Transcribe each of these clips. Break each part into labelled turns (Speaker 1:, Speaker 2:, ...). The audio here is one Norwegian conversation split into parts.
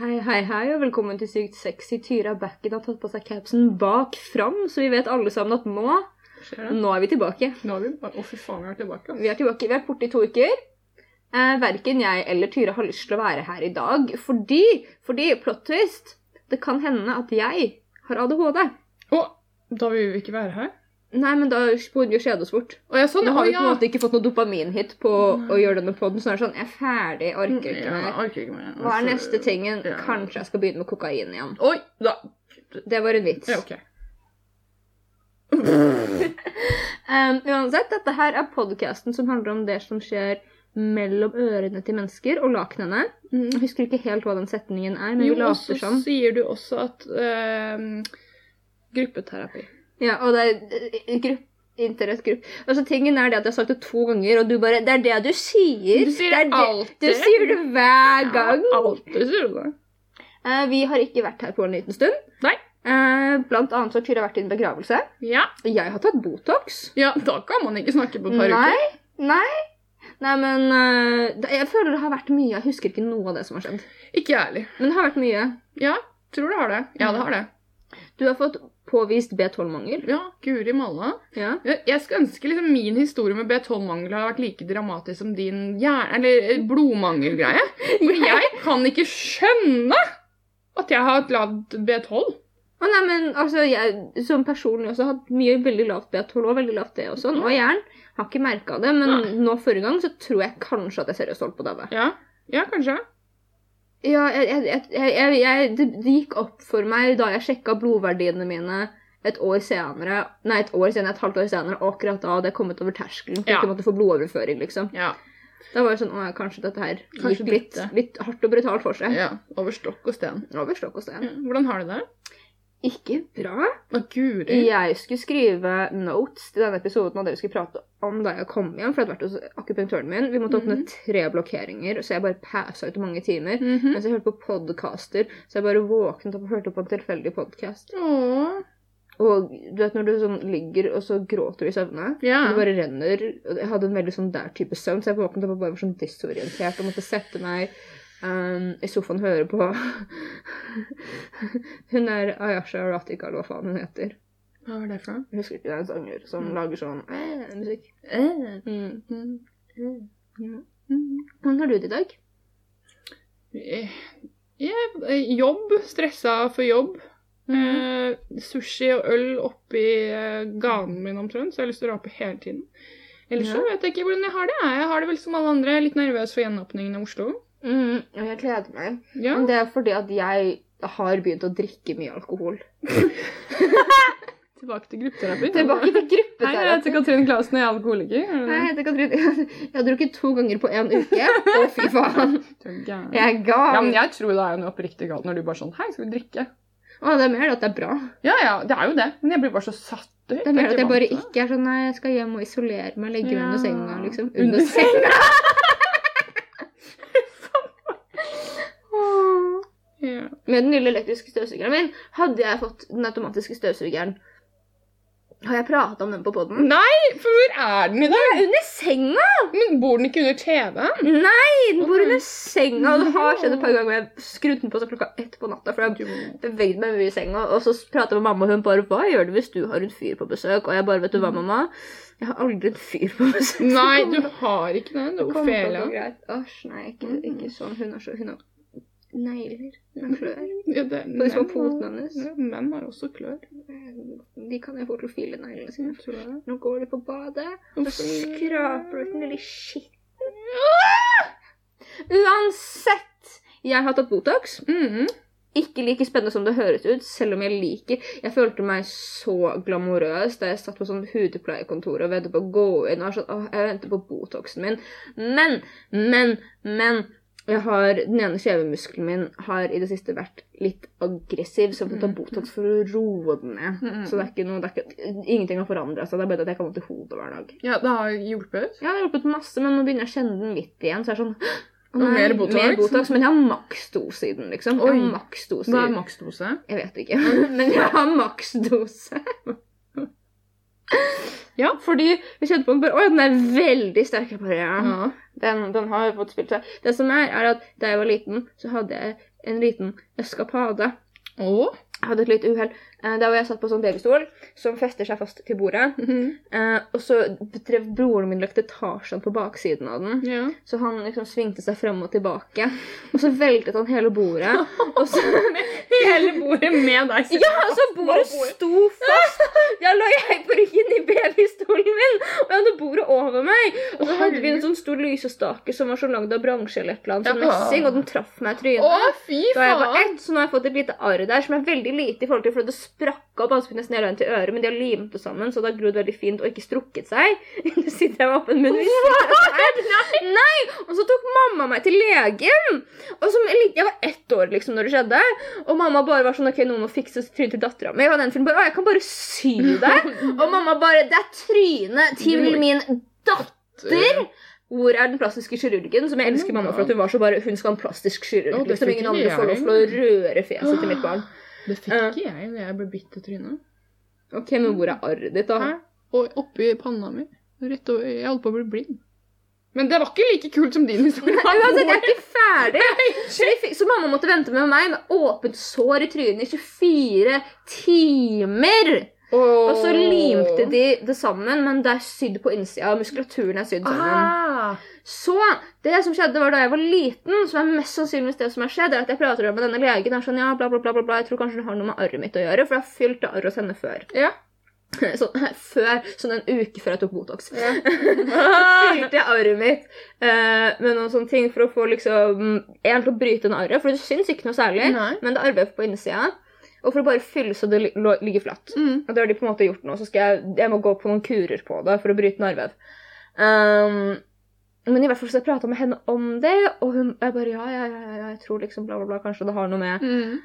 Speaker 1: Hei, hei, hei, og velkommen til Sykt sexy. Tyra Backen har tatt på seg capsen bak fram, så vi vet alle sammen at nå,
Speaker 2: Skjer det?
Speaker 1: nå er vi tilbake.
Speaker 2: Nå er vi bare Å, fy faen, vi er tilbake.
Speaker 1: Vi er tilbake, vi har vært borte i to uker. Eh, verken jeg eller Tyra har lyst til å være her i dag, fordi, fordi, plot twist, det kan hende at jeg har ADHD.
Speaker 2: Å, da vil vi ikke være her.
Speaker 1: Nei, men da burde vi jo skjede oss bort.
Speaker 2: Å ja, sånn.
Speaker 1: Nå har
Speaker 2: Å
Speaker 1: vi på en
Speaker 2: ja.
Speaker 1: måte ikke fått noe dopaminhit på å gjøre denne podden, så nå er det sånn, jeg er ferdig, jeg orker ikke
Speaker 2: Ja,
Speaker 1: mer.
Speaker 2: orker ikke mer.
Speaker 1: Hva er neste tingen?
Speaker 2: Ja.
Speaker 1: Kanskje jeg skal begynne med kokain igjen.
Speaker 2: Oi, da.
Speaker 1: Det var en vits.
Speaker 2: Ja, ok.
Speaker 1: Um, uansett, dette her er podcasten som handler om det som skjer mellom ørene til mennesker og lakenene. Jeg husker ikke helt hva den setningen er, men
Speaker 2: Mhm.
Speaker 1: vi
Speaker 2: Jo,
Speaker 1: sånn.
Speaker 2: og
Speaker 1: later
Speaker 2: så
Speaker 1: som.
Speaker 2: sier du også at ehm, gruppeterapi.
Speaker 1: Ja, og det er eh, grupp, interessgrupp. Altså, tingen er det at jeg har sagt det to ganger, og du bare, det er det du sier.
Speaker 2: Du sier
Speaker 1: det
Speaker 2: det
Speaker 1: er
Speaker 2: alltid.
Speaker 1: Du sier det hver gang.
Speaker 2: Ja, alltid sier du det.
Speaker 1: Eh, vi har ikke vært her på en liten stund.
Speaker 2: Nei.
Speaker 1: Eh, blant annet så har Tyra vært i en begravelse.
Speaker 2: Ja.
Speaker 1: Jeg har tatt Botox.
Speaker 2: ja, da kan man ikke snakke på et par uker.
Speaker 1: Nei, nei. Nei, men eh, det- jeg føler det har vært mye. Jeg husker ikke noe av det som har skjedd.
Speaker 2: Ikke jeg heller.
Speaker 1: Men det har vært mye.
Speaker 2: Ja, tror det har det. Ja, det har det.
Speaker 1: Du har fått påvist B12-mangel.
Speaker 2: Ja, Guri malla.
Speaker 1: Ja.
Speaker 2: Jeg jeg skulle ønske liksom min historie med B12-mangel hadde vært like dramatisk som din hjerne- eller eh, blodmangelgreie. For jeg kan ikke skjønne at jeg har et lavt B12.
Speaker 1: Å nei, men altså, jeg som personlig også har hatt mye veldig lavt B12 og veldig lavt det og sånn, og jern. Har ikke merka det, men
Speaker 2: Nei.
Speaker 1: nå forrige gang så tror jeg kanskje at jeg seriøst holdt på å daue.
Speaker 2: Ja, ja kanskje.
Speaker 1: Ja, jeg, jeg, jeg, jeg, jeg, det, det gikk opp for meg da jeg sjekka blodverdiene mine et år senere, nei, et år senere, et halvt år senere, og akkurat da hadde jeg kommet over terskelen for
Speaker 2: Ja.
Speaker 1: ikke å måtte få blodoverføring, liksom.
Speaker 2: Ja,
Speaker 1: Da var det sånn Å ja, kanskje dette her
Speaker 2: Kanskje
Speaker 1: gikk litt,
Speaker 2: dette.
Speaker 1: litt hardt og brutalt for seg.
Speaker 2: ja. Over stokk og sten.
Speaker 1: Over stokk og stein.
Speaker 2: Ja, Hvordan har du det?
Speaker 1: Ikke bra.
Speaker 2: Å, guri.
Speaker 1: Jeg skulle skrive notes til denne episoden og det vi skulle prate om da jeg kom hjem, for jeg hadde vært hos akupunktøren min. Vi måtte åpne
Speaker 2: Mhm.
Speaker 1: tre blokkeringer, så jeg bare passa ut i mange timer.
Speaker 2: Mhm.
Speaker 1: Mens jeg hørte på podcaster, så jeg bare våknet opp og hørte på en tilfeldig podcast.
Speaker 2: Åh.
Speaker 1: Og du vet når du sånn ligger, og så gråter du i søvne?
Speaker 2: Ja.
Speaker 1: Det bare renner. og Jeg hadde en veldig sånn der type søvn, så jeg våknet opp og bare var sånn desorientert og måtte sette meg ehm, i sofaen og høre på Hun er Ayasha Ratika, eller hva faen hun heter.
Speaker 2: Hva var det for noe?
Speaker 1: Jeg husker ikke, det er en sanger som
Speaker 2: Mm.
Speaker 1: lager sånn eh, musikk.
Speaker 2: Eh.
Speaker 1: Mm.
Speaker 2: Mm.
Speaker 1: Mm. Hvordan har du det i dag?
Speaker 2: Eh, ja, eh, jobb. Stressa for jobb.
Speaker 1: Mhm.
Speaker 2: Eh, sushi og øl oppi eh, ganen min omtrent, så jeg har lyst til å rape hele tiden. Ellers så
Speaker 1: Ja.
Speaker 2: vet jeg ikke hvordan jeg har det. Jeg har det vel som alle andre, litt nervøs for gjenåpningen av Oslo.
Speaker 1: Mm, og jeg gleder meg.
Speaker 2: Ja.
Speaker 1: Men Det er fordi at jeg har begynt å drikke mye alkohol.
Speaker 2: Tilbake til gruppeterapi.
Speaker 1: Tilbake til
Speaker 2: Hei, jeg
Speaker 1: gruppeterapi.
Speaker 2: heter Katrin Klasen, og jeg er alkoholiker. Er
Speaker 1: Hei,
Speaker 2: det
Speaker 1: jeg heter Katrin. Jeg har drukket to ganger på én uke. Å, fy faen.
Speaker 2: det? Du er gæren.
Speaker 1: Jeg er gal.
Speaker 2: Ja, men jeg tror det er noe oppriktig galt når du bare sånn Hei, skal vi drikke?
Speaker 1: Å, det er mer det at det er bra.
Speaker 2: Ja ja, det er jo det. Men jeg blir bare så satt ut.
Speaker 1: Det er mer
Speaker 2: Jeg
Speaker 1: at jeg bare
Speaker 2: vant til det.
Speaker 1: ikke er sånn Nei, jeg skal hjem og isolere meg, legge meg
Speaker 2: Ja.
Speaker 1: under senga, liksom.
Speaker 2: Under
Speaker 1: Under senga! Åh.
Speaker 2: Ja.
Speaker 1: Med den lille elektriske støvsugeren min hadde jeg fått den automatiske støvsugeren. Har jeg prata om den på poden?
Speaker 2: Nei, for hvor er den i dag?
Speaker 1: Under senga!
Speaker 2: Men bor den ikke under TV-en?
Speaker 1: Nei, den bor
Speaker 2: Ok.
Speaker 1: under senga. Og det har skjedd et par ganger hvor jeg skrudde den på seg klokka ett på natta. For jeg bevegde meg mye i senga, og så prata jeg med mamma, og hun bare 'Hva gjør du hvis du har en fyr på besøk?' Og jeg bare 'Vet du hva, mamma? Jeg har aldri en fyr på besøk.' som
Speaker 2: Nei,
Speaker 1: kommer
Speaker 2: du har ikke den. Det er
Speaker 1: Kom på noe
Speaker 2: Ofelia.
Speaker 1: greit. Æsj, nei, ikke, ikke sånn. Hun har så Hun har negler. Hun har klør.
Speaker 2: Ja, det er
Speaker 1: På de små
Speaker 2: menn,
Speaker 1: potene
Speaker 2: da.
Speaker 1: hennes.
Speaker 2: Ja, menn har også klør.
Speaker 1: De kan jeg få til å file neglene sine.
Speaker 2: Tror jeg.
Speaker 1: Nå går de på badet, og
Speaker 2: Hvorfor-
Speaker 1: skraper ut den lille skitten. Uansett! Jeg har tatt Botox.
Speaker 2: Mhm.
Speaker 1: Ikke like spennende som det høres ut, selv om jeg liker Jeg følte meg så glamorøs da jeg satt på sånn hudpleiekontor og ventet på å gå inn. Og var sånn, Åh, jeg venter på Botoxen min. Men, men, men jeg har, Den ene kjevemuskelen min har i det siste vært litt aggressiv, så jeg måtte ta
Speaker 2: Mhm.
Speaker 1: Botox for å roe den ned.
Speaker 2: Mhm.
Speaker 1: Så det er ikke noe, det er ikke, ingenting har forandra seg. Det er bare at jeg kan vondt i hodet hver dag.
Speaker 2: Ja, det har hjulpet.
Speaker 1: Ja, det har hjulpet masse, men nå begynner jeg å kjenne den litt igjen. Så jeg er sånn «Å
Speaker 2: Og
Speaker 1: nei,
Speaker 2: mer Botox?»
Speaker 1: mer Botox. Men jeg har maksdose i den, liksom. Jeg
Speaker 2: Oi.
Speaker 1: har maksdose i
Speaker 2: Hva
Speaker 1: den.
Speaker 2: er maksdose?
Speaker 1: Jeg vet ikke, men jeg har maksdose.
Speaker 2: Ja.
Speaker 1: Fordi vi kjente på den bare Oi, den er veldig sterk. Jeg bare, ja.
Speaker 2: Ja.
Speaker 1: den, den har fått spilt seg. Det som er, er at da jeg var liten, så hadde jeg en liten eskapade.
Speaker 2: Å?
Speaker 1: Jeg hadde et lite uhell. Eh, Der hvor jeg satt på sånn babystol som fester seg fast til bordet.
Speaker 2: Mm-hmm.
Speaker 1: Eh, og så drev broren min løkte Tarzan på baksiden av den.
Speaker 2: Ja.
Speaker 1: Så han liksom svingte seg frem og tilbake. Og så veltet han hele bordet. Og så,
Speaker 2: Hele bordet med deg selv.
Speaker 1: ja, og så bordet sto fast! Da lå jeg på ryggen i babystolen min, og jeg hadde bordet over meg. Og så hadde vi en sånn stor lysestake som var så lagd av bransje eller et eller annet, sånn
Speaker 2: Ja.
Speaker 1: messing, og den traff meg i trynet.
Speaker 2: Å, fy
Speaker 1: Da jeg var
Speaker 2: faen!
Speaker 1: ett, så nå har jeg fått et lite arr der som er veldig lite i forhold til, for det sprakk opp altså nesten hele veien til øret, men de har limt det sammen, så det har grodd veldig fint og ikke strukket seg. Nå sitter jeg med åpen munn. Nei! sånn Nei! Og så tok mamma meg til legen! Og som, jeg var ett år liksom når det skjedde, og mamma bare var sånn OK, noen må fikse trynet til dattera mi. Og den filmen bare Å, jeg kan bare sy det! Og mamma bare Det er trynet til min datter! Hvor er den plastiske kirurgen? Som jeg elsker mamma for at hun var så bare Hun skal ha en plastisk kirurg.
Speaker 2: Mm. Å, det
Speaker 1: liksom
Speaker 2: fikk
Speaker 1: ingen andre
Speaker 2: ikke
Speaker 1: får lov til å
Speaker 2: jeg.
Speaker 1: røre fjeset til mitt barn.
Speaker 2: Det fikk
Speaker 1: Eh.
Speaker 2: ikke jeg da jeg ble bitt i trynet.
Speaker 1: Ok, Men hvor er arret ditt, da?
Speaker 2: Hæ? Og oppi panna mi. Rett over, jeg holdt på å bli blind. Men det var ikke like kult som din historie.
Speaker 1: Uansett, jeg er ikke ferdig! Så, vi fikk, så mamma måtte vente med meg med åpent sår i trynet i 24 timer!
Speaker 2: Åh.
Speaker 1: Og så limte de det sammen, men det er sydd på innsida. og Muskulaturen er sydd sammen.
Speaker 2: Ah.
Speaker 1: Så det som skjedde var da jeg var liten, som er mest sannsynligvis det som har skjedd, er at jeg prater med denne legen og er sånn, ja, bla, bla, bla, bla, bla, jeg tror kanskje det har noe med arret mitt å gjøre, for jeg har fylt arr hos henne før.
Speaker 2: Ja.
Speaker 1: Sånn, før, sånn en uke før jeg tok Botox.
Speaker 2: ja.
Speaker 1: Fylte jeg arret mitt eh, med noen sånne ting for å få liksom En til å bryte den arret, for det syns ikke noe særlig,
Speaker 2: Nei.
Speaker 1: men det er arrvev på innsida. Og for å bare fylle så det li- lå- ligger flatt.
Speaker 2: Mm.
Speaker 1: Og det har de på en måte gjort nå, så skal jeg, jeg må gå på noen kurer på det for å bryte narvev. Um, men i hvert fall så jeg prata med henne om det, og hun jeg bare ja, ja, ja, ja, ja, jeg tror liksom bla, bla, bla, kanskje det har noe med
Speaker 2: Mm.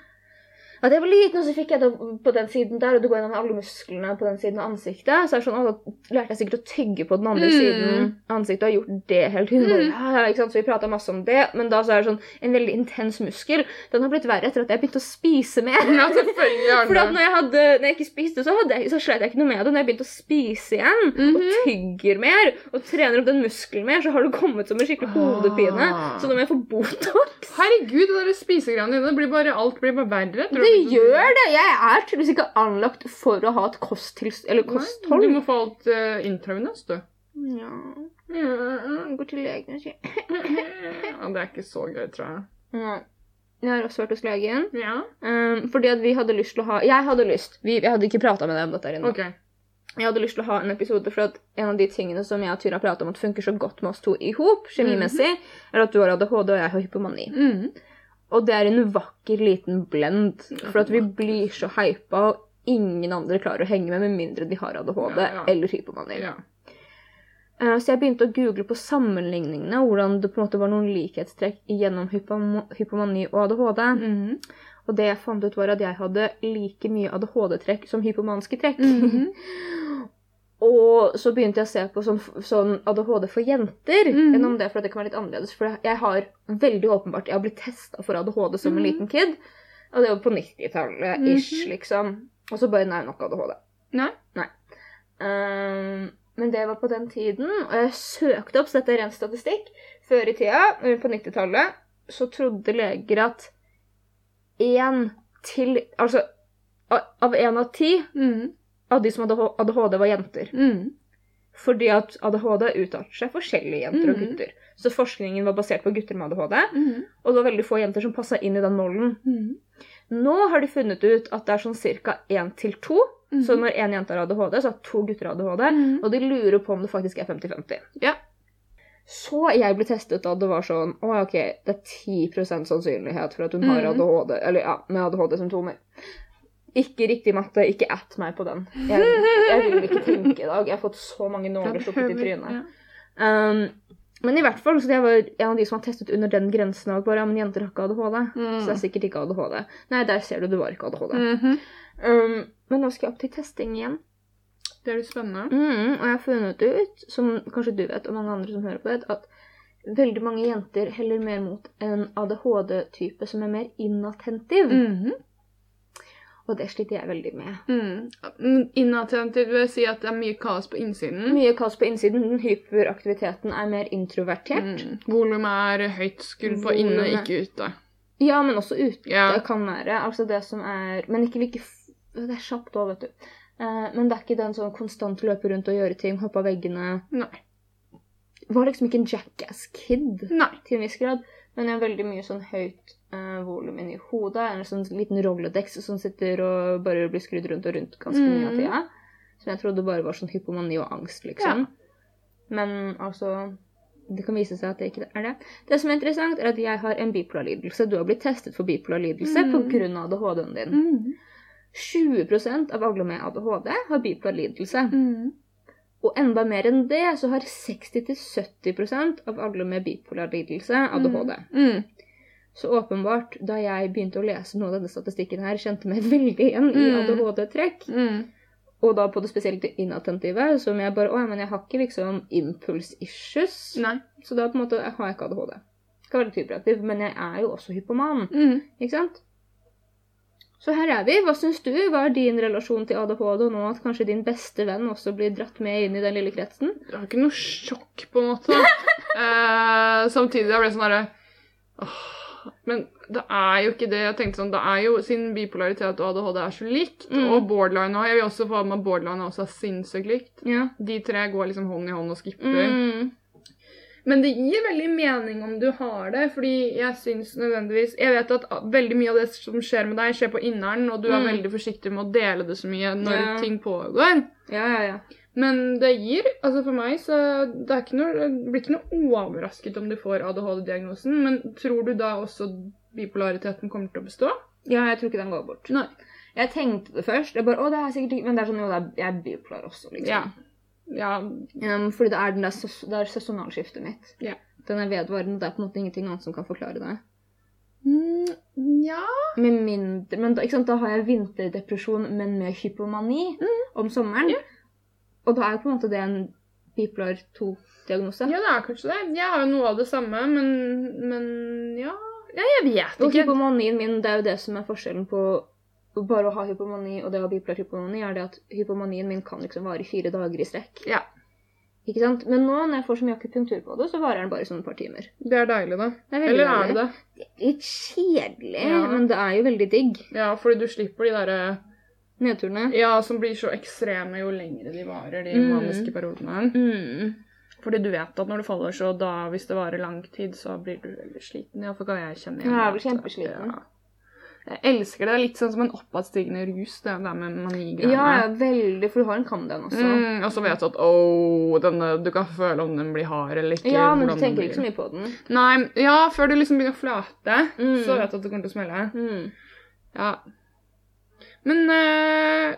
Speaker 1: At jeg var liten, og så fikk jeg det på den siden der, og du går gjennom alle musklene på den siden av ansiktet. Så er det sånn, å, da lærte jeg sikkert å tygge på den andre
Speaker 2: Mm.
Speaker 1: siden av ansiktet og har gjort det hele tiden. Bare,
Speaker 2: Mm.
Speaker 1: Ja, ja, ikke sant? Så vi prata masse om det, men da så er det sånn en veldig intens muskel. Den har blitt verre etter at jeg begynte å spise mer.
Speaker 2: Ja, selvfølgelig har
Speaker 1: Fordi at
Speaker 2: den det.
Speaker 1: når jeg, hadde, når jeg ikke spiste, så, hadde jeg, så slet jeg ikke noe med det. Når jeg begynte å spise igjen,
Speaker 2: Mhm.
Speaker 1: tygger mer og trener opp den muskelen mer, så har det kommet som en skikkelig hodepine.
Speaker 2: Ah.
Speaker 1: Så nå må jeg få Botox.
Speaker 2: Herregud, det der spisegreiene dine det blir bare, alt blir bare verre. tror
Speaker 1: Det
Speaker 2: jeg.
Speaker 1: gjør det! Jeg er tydeligvis ikke anlagt for å ha et kosttilst... Eller
Speaker 2: Nei, Du
Speaker 1: kosthold.
Speaker 2: må få alt uh, intravenøst, du.
Speaker 1: Ja. Jeg Går til legen og sier
Speaker 2: Ja, det er ikke så gøy, tror jeg.
Speaker 1: Ja. Jeg har også vært hos legen.
Speaker 2: Ja,
Speaker 1: Um, fordi at vi hadde lyst til å ha Jeg hadde lyst. Vi, jeg hadde ikke prata med deg om dette her inne.
Speaker 2: ok.
Speaker 1: jeg hadde lyst til å ha en episode for at en av de tingene som jeg og Tyra prater om at funker så godt med oss to i hop, kjemimessig,
Speaker 2: Mhm.
Speaker 1: er at du har ADHD og jeg har hypomani. Og det er en vakker liten blend, for at vi blir så hypa, og ingen andre klarer å henge med med mindre de har ADHD
Speaker 2: Ja, ja.
Speaker 1: eller hypomani.
Speaker 2: Ja.
Speaker 1: Eh, Så jeg begynte å google på sammenligningene, hvordan det på en måte var noen likhetstrekk gjennom hypom hypomani og ADHD. Og det jeg fant ut, var at jeg hadde like mye ADHD-trekk som hypomanske trekk.
Speaker 2: Mhm.
Speaker 1: Og så begynte jeg å se på sånn, sånn ADHD for jenter.
Speaker 2: Mhm.
Speaker 1: Gjennom det, for at det kan være litt annerledes. For jeg har veldig åpenbart Jeg har blitt testa for ADHD som en
Speaker 2: Mhm.
Speaker 1: liten kid. Og det var på 90-tallet ish,
Speaker 2: Mhm.
Speaker 1: liksom. Og så bare Nei, nok ADHD.
Speaker 2: Nei.
Speaker 1: Ehm, men det var på den tiden. Og jeg søkte opp, så dette er ren statistikk. Før i tida, eh, på 90-tallet, så trodde leger at én til Altså a- av én av ti
Speaker 2: Mhm.
Speaker 1: av de som hadde ADHD, var jenter.
Speaker 2: Mhm.
Speaker 1: Fordi at ADHD uttalte seg forskjellige jenter og
Speaker 2: Mhm.
Speaker 1: gutter. Så forskningen var basert på gutter med ADHD,
Speaker 2: Mhm.
Speaker 1: og det var veldig få jenter som passa inn i den mollen.
Speaker 2: Mhm.
Speaker 1: Nå har de funnet ut at det er sånn ca. én til to.
Speaker 2: Mm.
Speaker 1: Så når én jente har ADHD, så har to gutter ADHD.
Speaker 2: Mhm.
Speaker 1: Og de lurer på om det faktisk er 50-50.
Speaker 2: Ja.
Speaker 1: Så jeg ble testet da det var sånn Å, ja, ok, det er 10 sannsynlighet for at hun har
Speaker 2: Mhm.
Speaker 1: ADHD, eller ja, med ADHD-symptomer. Ikke riktig matte, ikke at meg på den. Jeg, jeg vil ikke tenke i dag. Jeg har fått så mange
Speaker 2: Ja,
Speaker 1: nåler
Speaker 2: det
Speaker 1: stukket i
Speaker 2: høver-
Speaker 1: trynet.
Speaker 2: ja.
Speaker 1: Um, men i hvert fall, så jeg var en av de som har testet under den grensen av at bare, ja, men jenter har ikke ADHD. Så det er sikkert ikke ADHD. Nei, der ser du, det var ikke ADHD.
Speaker 2: Mhm.
Speaker 1: Um, men nå skal jeg opp til testing igjen.
Speaker 2: Det er litt spennende.
Speaker 1: Mm, og jeg har funnet ut, som kanskje du vet, og mange andre som hører på vet, at veldig mange jenter heller mer mot en ADHD-type som er mer inattentiv.
Speaker 2: Mhm.
Speaker 1: Og det sliter jeg veldig med.
Speaker 2: Mhm. Men Inattentiv vil si at det er mye kaos på innsiden.
Speaker 1: Mye kaos på innsiden. Den hyperaktiviteten er mer introvertert.
Speaker 2: Mm. Mhm. Volumet er høyt skrudd på
Speaker 1: Volumet.
Speaker 2: inne, ikke ute.
Speaker 1: Ja, men også ute
Speaker 2: Ja.
Speaker 1: kan være. Altså det som er Men ikke like f- Det er kjapt òg, vet du. Eh, men det er ikke den sånn konstant løpe rundt og gjøre ting, hoppe av veggene
Speaker 2: Nei.
Speaker 1: Var liksom ikke en Jackass-kid
Speaker 2: Nei.
Speaker 1: til en viss grad, men jeg har veldig mye sånn høyt eh, volum inni hodet. En sånn liten rolledeks som sitter og bare blir skrudd rundt og rundt ganske mye av
Speaker 2: Mm.
Speaker 1: tida. Som jeg trodde bare var sånn hypomani og angst, liksom.
Speaker 2: Ja.
Speaker 1: Men altså Det kan vise seg at det ikke er det. Det som er interessant, er at jeg har en bipolar lidelse. Du har blitt testet for bipolar lidelse
Speaker 2: Mm.
Speaker 1: på grunn av ADHD-en din.
Speaker 2: Mm-hmm.
Speaker 1: 20 av alle med ADHD har bipolar lidelse.
Speaker 2: Mm.
Speaker 1: Og enda mer enn det så har 60-70 av alle med bipolar lidelse ADHD.
Speaker 2: Mm.
Speaker 1: Så åpenbart, da jeg begynte å lese noe av denne statistikken her, kjente meg veldig igjen i
Speaker 2: Mm.
Speaker 1: ADHD-trekk.
Speaker 2: Mm.
Speaker 1: Og da på det spesielt det inattentive, som jeg bare Å, ja, men jeg har ikke liksom impuls-issues.
Speaker 2: Nei.
Speaker 1: Så da på en måte jeg har jeg ikke ADHD. Skal være litt hyperaktiv, men jeg er jo også hypoman,
Speaker 2: Mm.
Speaker 1: ikke sant? Så her er vi. Hva syns du? Hva er din relasjon til ADHD, og nå at kanskje din beste venn også blir dratt med inn i den lille kretsen?
Speaker 2: Det var ikke noe sjokk, på en måte. eh, samtidig jeg ble sånn herre «Åh, Men det er jo ikke det. jeg tenkte sånn, Det er jo siden bipolaritet og ADHD er så likt,
Speaker 1: Mm.
Speaker 2: og borderline òg Jeg vil også få med at borderline også er sinnssykt likt.
Speaker 1: Ja.
Speaker 2: De tre går liksom hånd i hånd og skipper.
Speaker 1: Mm.
Speaker 2: Men det gir veldig mening om du har det, fordi jeg syns nødvendigvis Jeg vet at veldig mye av det som skjer med deg, skjer på inneren, og du er
Speaker 1: Mm.
Speaker 2: veldig forsiktig med å dele det så mye når
Speaker 1: Ja.
Speaker 2: ting pågår.
Speaker 1: Ja, ja, ja.
Speaker 2: Men det gir Altså for meg, så det er ikke noe, jeg blir ikke noe overrasket om du får ADHD-diagnosen, men tror du da også bipolariteten kommer til å bestå?
Speaker 1: Ja, jeg tror ikke den går bort.
Speaker 2: Nei.
Speaker 1: Jeg tenkte det først. Jeg bare, å, det er sikkert ikke, Men det er sånn, jo, det er, jeg er bipolar også, liksom.
Speaker 2: Ja. Ja.
Speaker 1: Ehm, fordi det er, den der, ses- det er sesonalskiftet mitt.
Speaker 2: Ja.
Speaker 1: Den er vedvarende. Det er på en måte ingenting annet som kan forklare det.
Speaker 2: Mm, ja.
Speaker 1: Med mindre, men da, ikke sant, da har jeg vinterdepresjon, men med hypomani
Speaker 2: Mm.
Speaker 1: om sommeren. Og da er jo på en måte det en bipolar 2-diagnose.
Speaker 2: ja, det er kanskje det. Jeg har jo noe av det samme, men, men ja. ja Jeg vet
Speaker 1: Og
Speaker 2: ikke.
Speaker 1: hypomanien min, det er jo det som er forskjellen på bare å ha hypomani og det å ha bipolar hypomani, er det at hypomanien min kan liksom vare i fire dager i strekk.
Speaker 2: Ja.
Speaker 1: Ikke sant? Men nå når jeg får så mye akupunktur på det, så varer den bare sånn et par timer.
Speaker 2: Det er deilig, da.
Speaker 1: Det er veldig
Speaker 2: Eller er
Speaker 1: deilig.
Speaker 2: det det?
Speaker 1: Litt kjedelig,
Speaker 2: Ja.
Speaker 1: men det er jo veldig digg.
Speaker 2: Ja, fordi du slipper de derre
Speaker 1: Nedturene.
Speaker 2: Ja, som blir så ekstreme jo lengre de varer, de
Speaker 1: Mm.
Speaker 2: maniske periodene.
Speaker 1: Mm.
Speaker 2: Fordi du vet at når du faller, så da, hvis det varer lang tid, så blir du veldig sliten. Iallfall kan jeg kjenne igjen
Speaker 1: Ja, jeg
Speaker 2: det.
Speaker 1: blir kjempesliten.
Speaker 2: Ja. Jeg elsker det. Det er litt sånn som en oppadstigende rus, det der med manigreiene.
Speaker 1: Ja, ja, veldig, for du har en Camden også.
Speaker 2: Mm, og så vet du at åh, denne, du kan føle om den blir hard eller ikke.
Speaker 1: Ja, men du
Speaker 2: hvordan den
Speaker 1: tenker
Speaker 2: blir.
Speaker 1: ikke så mye på den.
Speaker 2: Nei, ja, før du liksom begynner å flate,
Speaker 1: Mm.
Speaker 2: så vet du at det kommer til å smelle.
Speaker 1: Mm.
Speaker 2: Ja. Men eh,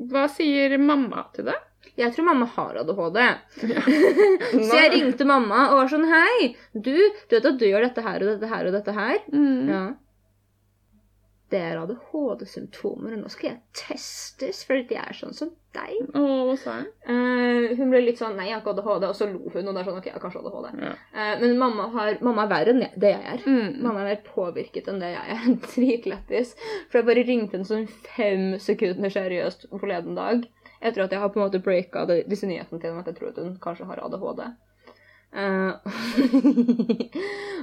Speaker 2: hva sier mamma til det?
Speaker 1: Jeg tror mamma har ADHD.
Speaker 2: Ja.
Speaker 1: Så jeg ringte mamma og var sånn Hei, du, du vet at du gjør dette her og dette her og dette her?
Speaker 2: Mm.
Speaker 1: Ja. Det er ADHD-symptomer, og nå skal jeg testes fordi jeg er sånn som deg.
Speaker 2: Å, hva sa hun?
Speaker 1: Eh, hun ble litt sånn Nei, jeg har ikke ADHD. Og så lo hun, og det er sånn OK, jeg har kanskje ADHD.
Speaker 2: Ja.
Speaker 1: Eh, men mamma, har, mamma er verre enn jeg- det jeg er.
Speaker 2: Mm.
Speaker 1: Mamma er mer påvirket enn det jeg er. Dritlættis. For jeg bare ringte henne sånn fem sekunder seriøst forleden dag. Etter at jeg har på en måte breaka det- disse nyhetene til henne at jeg tror at hun kanskje har ADHD. Eh,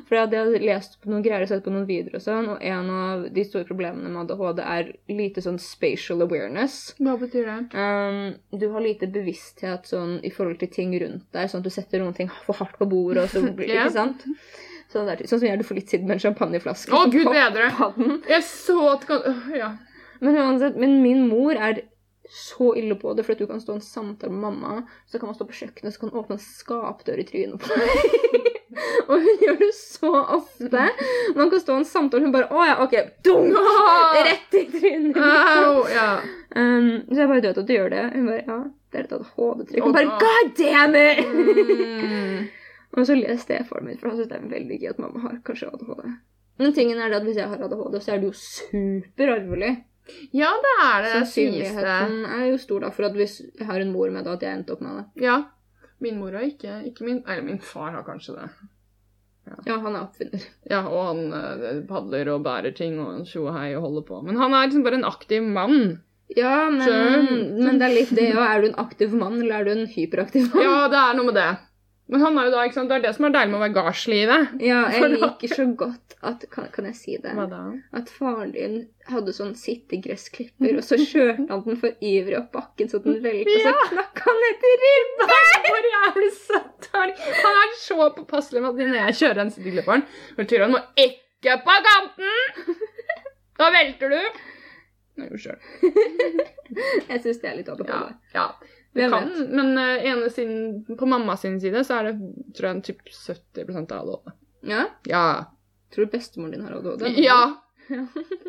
Speaker 1: for jeg hadde lest på noen greier og sett på noen videoer og sånn, og en av de store problemene med ADHD er lite sånn spatial awareness.
Speaker 2: Hva betyr det?
Speaker 1: Um, du har lite bevissthet sånn, i forhold til ting rundt deg, sånn at du setter noen ting for hardt på bordet, og så blir det
Speaker 2: Ja.
Speaker 1: ikke sant? Sånn, der, sånn som jeg gjorde for litt siden med en champagneflaske.
Speaker 2: Å,
Speaker 1: som
Speaker 2: gud
Speaker 1: poppa
Speaker 2: bedre!
Speaker 1: den.
Speaker 2: Jeg så at kan... øh, Ja.
Speaker 1: Men uansett, men min mor er så ille på det, for at du kan stå i en samtale med mamma, så kan man stå på kjøkkenet, så kan hun åpne en skapdør i trynet på deg. og hun gjør det så ofte. Man kan stå i en samtale, og hun bare Å ja, OK. Dunk!
Speaker 2: Ah!»
Speaker 1: Rett i trynet. liksom.
Speaker 2: Au! Ja.
Speaker 1: Um, så jeg bare vet at du gjør det. Hun bare ja, det er et ADHD-trykk. Hun
Speaker 2: Å,
Speaker 1: bare
Speaker 2: da.
Speaker 1: god damn it!
Speaker 2: Mm.
Speaker 1: og så ler stefaren min, for han syns det er veldig gøy at mamma har kanskje ADHD. Men tingen er det at hvis jeg har ADHD, så er det jo superarvelig.
Speaker 2: Ja, det er det. Sies det.
Speaker 1: Sannsynligheten er jo stor da for at hvis jeg har en mor med det, at jeg endte opp med det.
Speaker 2: Ja. Min mor har ikke Ikke min Eller min far har kanskje det.
Speaker 1: Ja, han er oppfinner.
Speaker 2: Ja, og han eh, padler og bærer ting og en tjo og hei og holder på. Men han er liksom bare en aktiv mann.
Speaker 1: Ja, men,
Speaker 2: Skjønt.
Speaker 1: men det er litt det òg. Er du en aktiv mann, eller er du en hyperaktiv mann?
Speaker 2: Ja, det er noe med det. Men han er jo da, ikke sant, det er det som er deilig med å være gardslivet.
Speaker 1: Ja, jeg
Speaker 2: For da-
Speaker 1: liker så godt at Kan, kan jeg si det?
Speaker 2: da?
Speaker 1: At faren din hadde sånn sittegresklipper, og så kjørte han den for ivrig opp bakken så den velta, så knakk han ned til ribba!
Speaker 2: Hvor er det så dårlig? Han er så påpasselig med at når jeg kjører en sykkelfaren, og Tyran må ikke på kanten! Da velter du. Nei, jo selv.
Speaker 1: Jeg syns det er litt over
Speaker 2: Ja,
Speaker 1: hodet.
Speaker 2: ja. Du
Speaker 1: Hvem
Speaker 2: kan,
Speaker 1: vet?
Speaker 2: men eh, ene sin, på mamma sin side så er det tror jeg en typ 70 av alle.
Speaker 1: Ja?
Speaker 2: Ja.
Speaker 1: Tror du bestemoren din har ADHD?
Speaker 2: ja.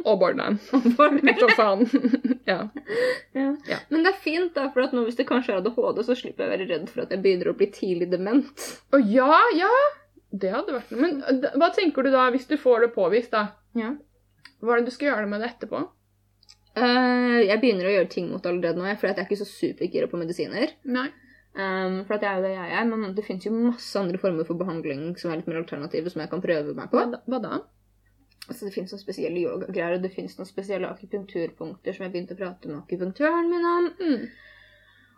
Speaker 2: Og barna. For faen. Ja.
Speaker 1: Men det er fint, da, for at nå hvis det kanskje er ADHD, så slipper jeg å være redd for at jeg begynner å bli tidlig dement.
Speaker 2: Å ja, ja! Det hadde vært noe. Men eh, d- hva tenker du da, hvis du får det påvist, da?
Speaker 1: Ja.
Speaker 2: Hva er det du skal gjøre med det etterpå?
Speaker 1: Eh, jeg begynner å gjøre ting mot allerede nå, jeg, fordi at jeg er ikke så supergira på medisiner.
Speaker 2: Nei.
Speaker 1: Ehm, for at jeg er jo det jeg er, men det finnes jo masse andre former for behandling som er litt mer alternative, som jeg kan prøve meg på.
Speaker 2: Hva da? Hva da?
Speaker 1: Altså, det finnes noen spesielle yogagreier, og det finnes noen spesielle akupunkturpunkter som jeg begynte å prate med akupunktøren min om.
Speaker 2: Mm.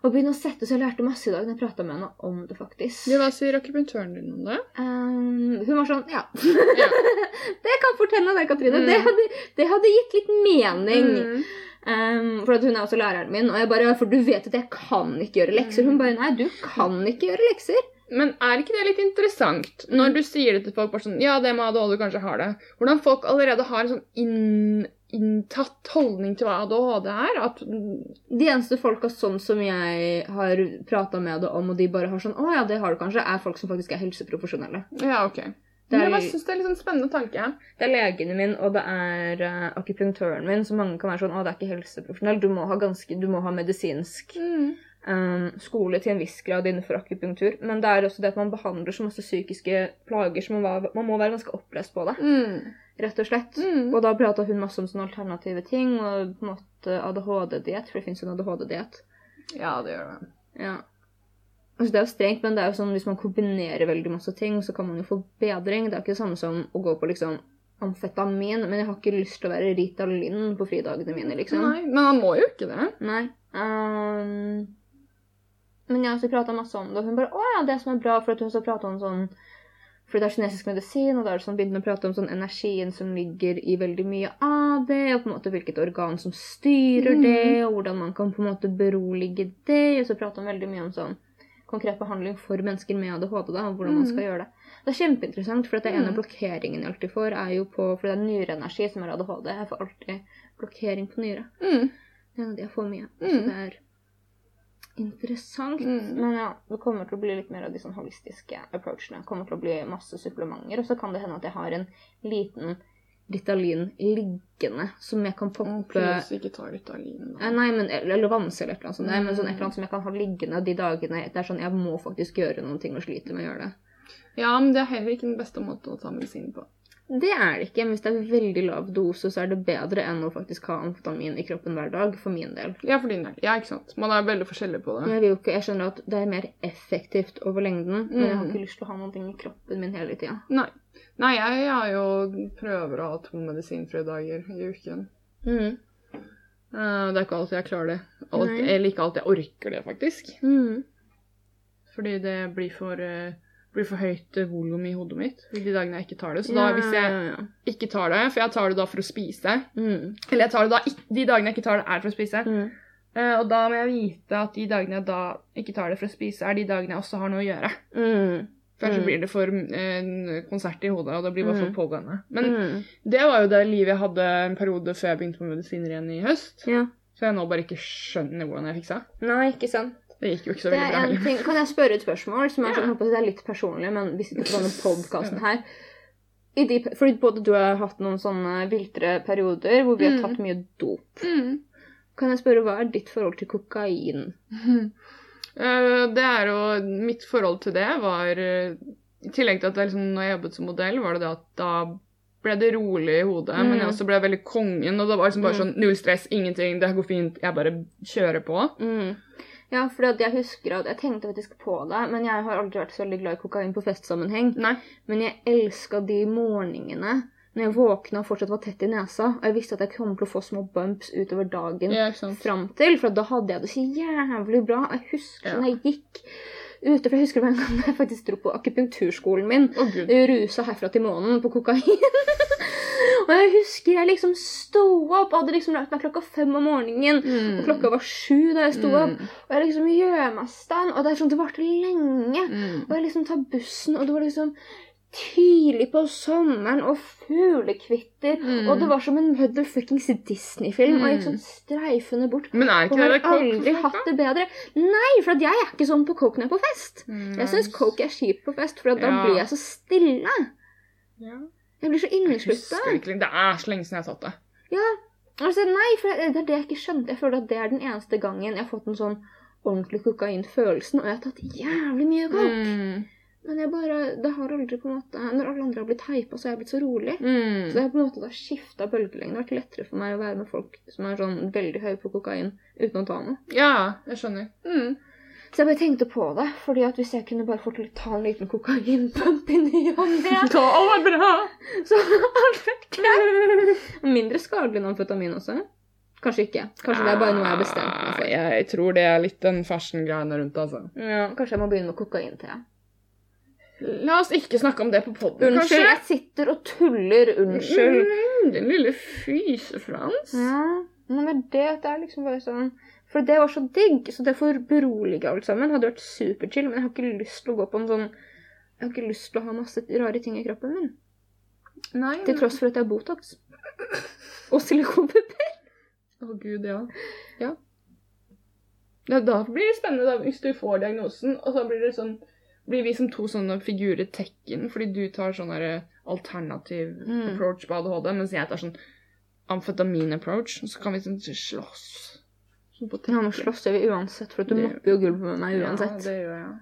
Speaker 1: Og begynne å sette, så jeg lærte masse i dag når jeg prata med henne om det, faktisk.
Speaker 2: Ja, hva sier akupunktøren din om det?
Speaker 1: Ehm, hun var sånn Ja.
Speaker 2: Ja.
Speaker 1: det kan fortelle deg, Katrine.
Speaker 2: Mm.
Speaker 1: Det, hadde, det hadde gitt litt mening.
Speaker 2: Mm.
Speaker 1: Ehm, for at hun er også læreren min, og jeg bare ja, For du vet at jeg kan ikke gjøre lekser. Hun bare Nei, du kan ikke gjøre lekser.
Speaker 2: Men er ikke det litt interessant når du sier det til folk bare sånn Ja, det med ADHD kanskje har det. Hvordan folk allerede har en sånn inn, inntatt holdning til hva ADHD er. At
Speaker 1: De eneste folka sånn som jeg har prata med det om, og de bare har sånn Å ja, det har du kanskje, er folk som faktisk er helseprofesjonelle.
Speaker 2: Ja, OK.
Speaker 1: Det
Speaker 2: Men
Speaker 1: er-
Speaker 2: jeg bare syns det er litt sånn spennende tanke.
Speaker 1: Det er legene min, og det er eh, akupunktøren min, så mange kan være sånn Å, det er ikke helseprofesjonell. Du må ha ganske Du må ha medisinsk
Speaker 2: Mm.
Speaker 1: ehm, skole til en viss grad innenfor akupunktur. Men det er også det at man behandler så masse psykiske plager, så man, var, man må være ganske opplest på det.
Speaker 2: Mm.
Speaker 1: Rett og slett.
Speaker 2: Mm.
Speaker 1: Og da prata hun masse om sånne alternative ting, og på en måte ADHD-diett, for det fins jo en ADHD-diett.
Speaker 2: Ja, det gjør det.
Speaker 1: Ja. Altså, det er jo strengt, men det er jo sånn hvis man kombinerer veldig masse ting, så kan man jo få bedring. Det er ikke det samme som å gå på liksom amfetamin, men jeg har ikke lyst til å være Ritalin på fridagene mine, liksom.
Speaker 2: Nei, men han må jo ikke det.
Speaker 1: Nei. Ehm, men ja, så prata masse om det, og hun bare 'Å ja, det som er bra', for at hun så prata om sånn fordi det er kinesisk medisin, og da er det sånn, begynte hun å prate om sånn energien som ligger i veldig mye av det, og på en måte hvilket organ som styrer det, og hvordan man kan på en måte berolige det. Og så prata hun veldig mye om sånn konkret behandling for mennesker med ADHD, da, og hvordan man skal gjøre det. Det er kjempeinteressant, for at det ene
Speaker 2: Mm.
Speaker 1: blokkeringen jeg alltid får, er jo på For det er nyreenergi som er ADHD. Jeg får alltid blokkering på nyre.
Speaker 2: Mm.
Speaker 1: Ja, de får mye. Så
Speaker 2: Mm.
Speaker 1: det er interessant.
Speaker 2: Mm.
Speaker 1: Men ja, det kommer til å bli litt mer av de sånn holistiske approachene. Det kommer til å bli masse supplementer. Og så kan det hende at jeg har en liten Ritalin liggende som jeg kan
Speaker 2: Og
Speaker 1: poppe
Speaker 2: please, ikke ta Ritalin.
Speaker 1: Eh,
Speaker 2: da.
Speaker 1: Nei, men, eller eller vanse eller et eller annet sånt. Nei, men sånn et
Speaker 2: Mm.
Speaker 1: eller annet som jeg kan ha liggende de dagene det er sånn jeg må faktisk gjøre noen ting og sliter med å gjøre det.
Speaker 2: Ja, men det er heller ikke den beste måten å ta medisin på.
Speaker 1: Det er det ikke. Men hvis det er veldig lav dose, så er det bedre enn å faktisk ha amfetamin i kroppen hver dag, for min del.
Speaker 2: Ja, for din del. Ja, ikke sant. Man er veldig forskjellig på
Speaker 1: Men
Speaker 2: det.
Speaker 1: jeg, vil jo ikke, jeg skjønner at det er mer effektivt over lengden, men jeg har
Speaker 2: Mm.
Speaker 1: ikke lyst til å ha noe i kroppen min hele tida.
Speaker 2: Nei. Nei, jeg har jo prøver å ha to medisinfrie dager i uken.
Speaker 1: Mm.
Speaker 2: Eh, Det er ikke alltid jeg klarer det. Alt,
Speaker 1: Nei.
Speaker 2: eller ikke alltid jeg orker det, faktisk.
Speaker 1: Mm.
Speaker 2: Fordi det blir for, eh, blir for høyt eh, volum i hodet mitt de dagene jeg ikke tar det. Så da, hvis jeg ikke tar det For jeg tar det da for å spise.
Speaker 1: Mm.
Speaker 2: Eller jeg tar det da ikk- de dagene jeg ikke tar det, er for å spise. Eh, Og da må jeg vite at de dagene jeg da ikke tar det for å spise, er de dagene jeg også har noe å gjøre.
Speaker 1: Mm.
Speaker 2: For ellers så
Speaker 1: Mm.
Speaker 2: blir det for eh, konsert i hodet, og det blir bare
Speaker 1: Mm.
Speaker 2: for pågående. Men
Speaker 1: Mm.
Speaker 2: det var jo det livet jeg hadde en periode før jeg begynte med medisiner igjen i høst.
Speaker 1: Ja.
Speaker 2: Så jeg nå bare ikke skjønner hvordan jeg fiksa.
Speaker 1: Nei, ikke sant.
Speaker 2: Det gikk jo ikke så
Speaker 1: Det
Speaker 2: veldig
Speaker 1: er
Speaker 2: bra
Speaker 1: en
Speaker 2: heller.
Speaker 1: ting. Kan jeg spørre et spørsmål som er,
Speaker 2: Ja.
Speaker 1: sånn, jeg håper det er litt personlig, men vi sitter på denne podkasten her. I de, fordi både du og jeg har hatt noen sånne viltre perioder hvor vi har
Speaker 2: Mm.
Speaker 1: tatt mye dop.
Speaker 2: Mm.
Speaker 1: Kan jeg spørre, hva er ditt forhold til kokain?
Speaker 2: Eh, Det er jo Mitt forhold til det var eh, I tillegg til at jeg liksom, når jeg jobbet som modell, var det det at da ble det rolig i hodet. Men jeg
Speaker 1: Mm.
Speaker 2: også ble veldig kongen, og det var liksom bare sånn null stress, ingenting, det her går fint, jeg bare kjører på.
Speaker 1: Mm. Ja, for at jeg husker at jeg tenkte faktisk på det, men jeg har aldri vært så veldig glad i kokain på festsammenheng.
Speaker 2: Nei.
Speaker 1: Men jeg elska de morgenene når jeg våkna og fortsatt var tett i nesa, og jeg visste at jeg kom til å få små bumps utover dagen
Speaker 2: Ja, ikke sant.
Speaker 1: fram til, for da hadde jeg det så jævlig bra. Jeg husker
Speaker 2: Ja.
Speaker 1: sånn jeg gikk ute. For jeg husker det var en gang jeg faktisk dro på akupunkturskolen min.
Speaker 2: Å, gud.
Speaker 1: Rusa herfra til månen på kokain. og jeg husker jeg liksom sto opp, hadde liksom lagt meg klokka fem om morgenen.
Speaker 2: Mm.
Speaker 1: Og klokka var sju da jeg sto opp. Og jeg liksom gjør meg stand, og det er sånn, det varte lenge.
Speaker 2: Mm.
Speaker 1: Og jeg liksom tar bussen, og det var liksom tidlig på sommeren, og fuglekvitter.
Speaker 2: Mm.
Speaker 1: Og det var som en motherfuckings Disney-film. Og jeg gikk
Speaker 2: Mm.
Speaker 1: sånn streifende bort.
Speaker 2: Men er
Speaker 1: Og
Speaker 2: ikke det
Speaker 1: har
Speaker 2: der coke
Speaker 1: aldri
Speaker 2: for
Speaker 1: hatt
Speaker 2: folk,
Speaker 1: det bedre. Nei, for at jeg er ikke sånn på coke når jeg er på fest.
Speaker 2: da? Nei.
Speaker 1: Jeg syns coke er kjipt på fest, for at da
Speaker 2: Ja.
Speaker 1: blir jeg så stille.
Speaker 2: Ja.
Speaker 1: Jeg blir så
Speaker 2: Jeg
Speaker 1: inneslutta.
Speaker 2: husker virkelig Det er så lenge siden jeg har tatt det.
Speaker 1: Altså, nei, for det er det jeg ikke skjønte. Jeg føler at det er den eneste gangen jeg har fått en sånn ordentlig kokainfølelsen, og jeg har tatt jævlig mye
Speaker 2: Mm.
Speaker 1: coke. Men jeg bare, det har aldri på en måte, når alle andre har blitt hypa, så har jeg blitt så rolig. Så det har på en måte da skifta bølgelengde. Det har vært lettere for meg å være med folk som er sånn veldig høye på kokain uten å ta noe.
Speaker 2: Ja, jeg skjønner.
Speaker 1: Så jeg bare tenkte på det, fordi at hvis jeg kunne bare fått ta en liten kokainpump i ny og ne,
Speaker 2: Da var det bra!
Speaker 1: så hadde det alt vært greit. Mindre skadelig enn amfetamin også. Kanskje ikke. Kanskje det er bare noe jeg har bestemt meg for.
Speaker 2: Nei, Jeg tror det er litt den fashion-greiene rundt, altså.
Speaker 1: Ja, kanskje jeg må begynne med kokainte.
Speaker 2: La oss ikke snakke om det på podden,
Speaker 1: Unnskyld, jeg sitter og tuller. Unnskyld.
Speaker 2: Mm, Din lille fysefrans.
Speaker 1: Ja, men det er det at det er liksom bare sånn For det var så digg, så det får berolige alt sammen. Hadde vært superchill, men jeg har ikke lyst til å gå på en sånn Jeg har ikke lyst til å ha masse rare ting i kroppen min.
Speaker 2: Nei.
Speaker 1: Til tross for at jeg har Botox. Og silikonpupper.
Speaker 2: Å gud, ja. Ja. ja. Da blir det spennende da, hvis du får diagnosen, og så blir det sånn blir vi som to sånne figurer tekken, fordi du tar sånn der alternativ
Speaker 1: Mm.
Speaker 2: approach på ADHD, mens jeg tar sånn amfetamin-approach, og så kan vi sånn slåss. Sånn på
Speaker 1: Ja, nå
Speaker 2: Tekken.
Speaker 1: slåss jeg vi uansett, for at du
Speaker 2: Det-
Speaker 1: mopper jo gulvet med meg uansett.
Speaker 2: Ja, det gjør jeg.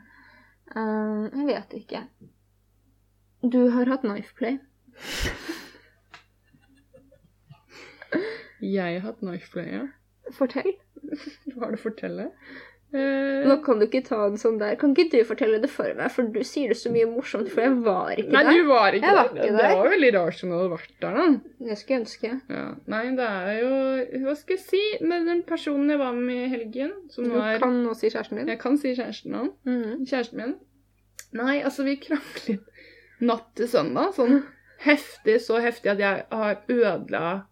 Speaker 1: Eh, jeg vet ikke. Du har hatt knife play.
Speaker 2: Jeg har hatt knife play, ja.
Speaker 1: Fortell.
Speaker 2: Hva har du å fortelle? Eh,
Speaker 1: Nå kan du ikke ta en sånn der. Kan ikke du fortelle det for meg, for du sier det så mye morsomt, for jeg var ikke
Speaker 2: nei,
Speaker 1: der.
Speaker 2: du var ikke
Speaker 1: Jeg var
Speaker 2: der.
Speaker 1: ikke
Speaker 2: Det
Speaker 1: der.
Speaker 2: var veldig rart som du hadde vært der, da.
Speaker 1: Jeg skulle ønske.
Speaker 2: Ja. Nei, det er jo Hva skal jeg si? Med den personen jeg var med i helgen, som
Speaker 1: Du
Speaker 2: var
Speaker 1: kan nå si kjæresten din.
Speaker 2: Jeg kan si kjæresten hans.
Speaker 1: Mhm.
Speaker 2: Kjæresten min. Nei, altså, vi kranglet natt til søndag. Sånn heftig, så heftig at jeg har ødela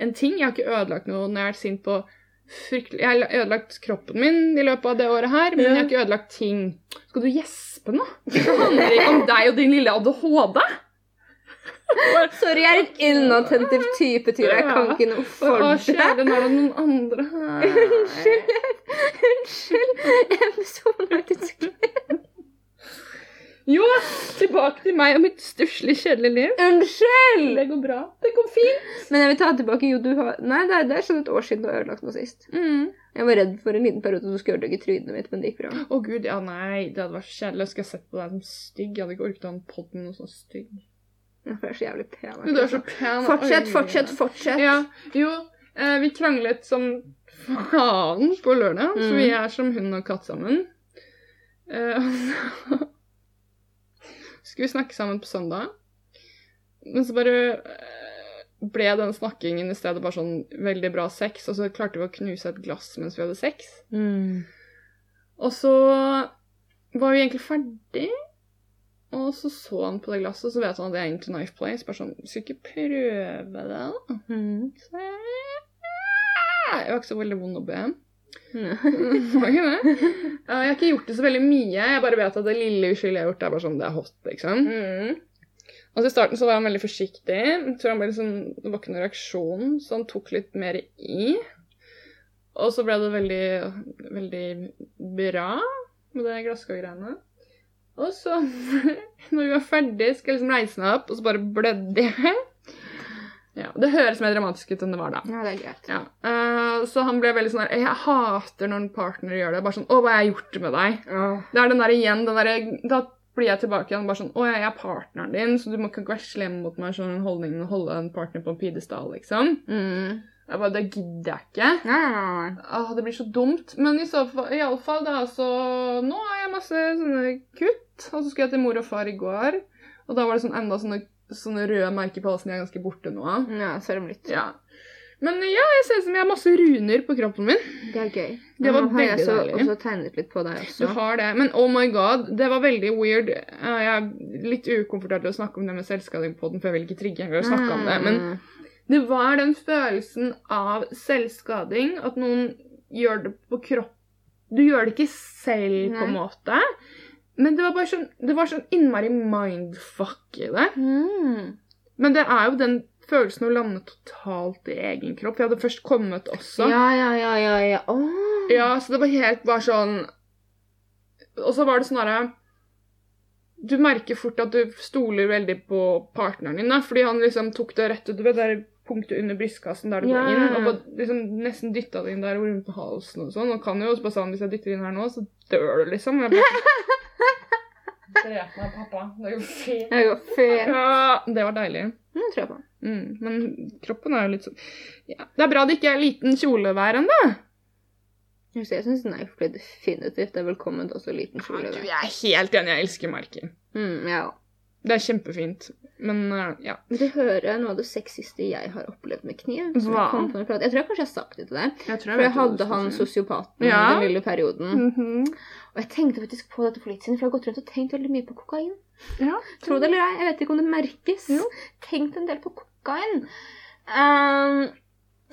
Speaker 2: en ting. Jeg har ikke ødelagt noe når jeg har vært sint på fryktelig Jeg har ødelagt kroppen min i løpet av det året her, men jeg har ikke ødelagt ting. Skal du gjespe nå? Det handler ikke om deg og din lille ADHD.
Speaker 1: Sorry, jeg er en inattentiv type, Tyra. Jeg kan ikke noe
Speaker 2: Å,
Speaker 1: for det.
Speaker 2: kjære, nå er det noen andre her.
Speaker 1: Unnskyld. Unnskyld. Jeg sovna ut et sekund.
Speaker 2: Jo, tilbake til meg og mitt stusslig, kjedelige liv.
Speaker 1: Unnskyld!
Speaker 2: Det går bra. Det går fint.
Speaker 1: Men jeg vil ta tilbake jo du har Nei, det er, det er sånn et år siden du har ødelagt noe sist.
Speaker 2: Mm.
Speaker 1: Jeg var redd for en liten periode at du skulle ødelegge trynet mitt, men det gikk bra.
Speaker 2: Å gud, ja nei, det hadde vært så kjedelig. Skulle jeg sett på deg som stygg? Jeg hadde ikke orket å ha en podd med noe så stygg.
Speaker 1: Ja, for Jeg er så jævlig pen.
Speaker 2: Men du er så pen.
Speaker 1: Fortsett,
Speaker 2: Oi.
Speaker 1: fortsett, fortsett.
Speaker 2: Ja, jo, eh, vi kranglet som faen på lørdag, så
Speaker 1: Mm.
Speaker 2: vi er som hund og katt sammen. Eh, og så skulle vi snakke sammen på søndag, men så bare eh, ble den snakkingen i stedet bare sånn veldig bra sex, og så klarte vi å knuse et glass mens vi hadde sex.
Speaker 1: Mm.
Speaker 2: Og så var vi egentlig ferdig, og så så han på det glasset, og så vet han at det er egentlig knife play. Så bare sånn, skal ikke prøve det da? Så jeg, jeg var ikke så veldig vond å be.
Speaker 1: Mm.
Speaker 2: Var ikke det? Eh, Jeg har ikke gjort det så veldig mye, jeg bare vet at det lille uskyldige jeg har gjort, det er bare sånn, det er hot, liksom. Altså i starten så var han veldig forsiktig, jeg tror han ble litt sånn, det var ikke noen reaksjon, så han tok litt mer i. Og så ble det veldig, veldig bra med det glasskårgreiene. Og så, når vi var ferdig, skal jeg liksom reise meg opp, og så bare blødde jeg. Ja, det høres mer dramatisk ut enn det var da.
Speaker 1: Ja, det er greit.
Speaker 2: Ja. eh, så han ble veldig sånn der, jeg hater når en partner gjør det, bare sånn, å, hva har jeg gjort med deg? Det er den der igjen, den der, da blir jeg tilbake igjen bare sånn, å, jeg er partneren din, så du må ikke være slem mot meg, sånn den holdningen å holde en partner på en pidestall, liksom.
Speaker 1: Mm.
Speaker 2: Jeg bare, det gidder jeg ikke.
Speaker 1: Nei, nei, nei, nei.
Speaker 2: Åh, det blir så dumt. Men i så fall, i alle fall da, så nå har jeg masse sånne kutt, og så skulle jeg til mor og far i går, og da var det sånn enda sånne, sånne røde merker på halsen, jeg er ganske borte nå.
Speaker 1: Ja, selv om litt.
Speaker 2: Ja. Men ja, jeg ser ut som jeg har masse runer på kroppen min.
Speaker 1: Det er gøy.
Speaker 2: Det var
Speaker 1: Nå har jeg
Speaker 2: veldig
Speaker 1: så,
Speaker 2: deilig.
Speaker 1: også tegnet litt på deg
Speaker 2: Du
Speaker 1: også.
Speaker 2: har det. Men oh my god, det var veldig weird. Eh, Jeg er litt ukomfortabel å snakke om det med selvskading på den, for jeg vil ikke trigge engang å snakke om det. Men
Speaker 1: Mm.
Speaker 2: det var den følelsen av selvskading, at noen gjør det på kropp Du gjør det ikke selv, på en
Speaker 1: Nei.
Speaker 2: måte. Men det var bare sånn, det var sånn innmari mindfuck i det.
Speaker 1: mm.
Speaker 2: Men det er jo den følelsen å lande totalt i egen kropp. Jeg hadde først kommet også.
Speaker 1: Ja, ja, ja, ja. ja. Åh.
Speaker 2: Ja, så det var helt bare sånn Og så var det sånn herre Du merker fort at du stoler veldig på partneren din, da, fordi han liksom tok det rett ut ved det der punktet under brystkassen der det
Speaker 1: Ja.
Speaker 2: går inn, og bare liksom nesten dytta det inn der og rundt på halsen og sånn. Og kan jo også bare sånn Hvis jeg dytter inn her nå, så dør du, liksom. Jeg bare Drep meg, pappa. Det går fint.
Speaker 1: Jeg går fair.
Speaker 2: Ja, det var deilig.
Speaker 1: Mm, Det tror jeg på.
Speaker 2: Mm, men kroppen er jo litt sånn ja. Det er bra det ikke er liten kjolevær ennå.
Speaker 1: Jeg synes- Jeg syns nei, for det er definitivt det er velkomment også liten kjole.
Speaker 2: Jeg
Speaker 1: der.
Speaker 2: er helt enig, jeg elsker merker.
Speaker 1: Mm, ja.
Speaker 2: Det er kjempefint. Men eh, ja.
Speaker 1: Vil du høre noe av det sexiste jeg har opplevd med kniv? som
Speaker 2: Hva?
Speaker 1: Jeg, kom på når jeg pratet- jeg tror jeg kanskje jeg har sagt det til deg.
Speaker 2: Jeg tror
Speaker 1: For jeg hadde han sosiopaten
Speaker 2: Ja. Mm.
Speaker 1: den lille perioden. Og jeg tenkte faktisk på dette for litt siden, for jeg har gått rundt og tenkt veldig mye på kokain.
Speaker 2: Ja.
Speaker 1: Tro det eller ei, jeg vet ikke om det merkes.
Speaker 2: Mm. Jo.
Speaker 1: Tenkt en del på kokain. Ehm,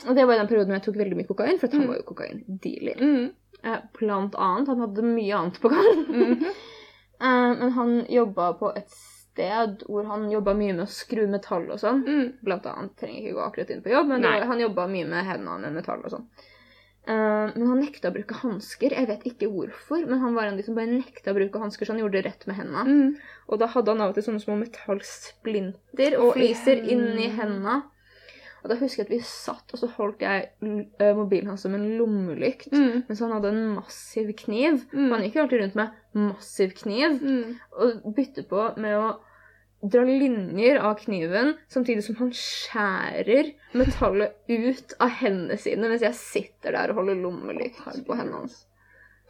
Speaker 1: og det var i den perioden hvor jeg tok veldig mye kokain, for at han
Speaker 2: Mm.
Speaker 1: var jo kokaindealer.
Speaker 2: Mm.
Speaker 1: Eh, blant annet. Han hadde mye annet på gang.
Speaker 2: Mhm.
Speaker 1: Eh, men han jobba på et sted hvor han jobba mye med å skru metall og sånn.
Speaker 2: Mm.
Speaker 1: Blant annet trenger ikke gå akkurat inn på jobb, men det
Speaker 2: Nei.
Speaker 1: var, han jobba mye med hendene med metall og sånn. Eh, men han nekta å bruke hansker. Jeg vet ikke hvorfor, men han var en av de som bare nekta å bruke hansker, så han gjorde det rett med hendene.
Speaker 2: Mm.
Speaker 1: Og da hadde han av og til sånne små metallsplinter og
Speaker 2: Og i
Speaker 1: fliser
Speaker 2: hendene.
Speaker 1: inni hendene. Og da husker jeg at vi satt, og så holdt jeg eh, mobilen hans som en lommelykt.
Speaker 2: Mm.
Speaker 1: Mens han hadde en massiv kniv. Og han
Speaker 2: Mm.
Speaker 1: gikk jo alltid rundt med massiv kniv.
Speaker 2: Mm.
Speaker 1: Og bytte på med å dra linjer av kniven, samtidig som han skjærer metallet ut av hendene sine, mens jeg sitter der og holder lommelykt på hendene hans.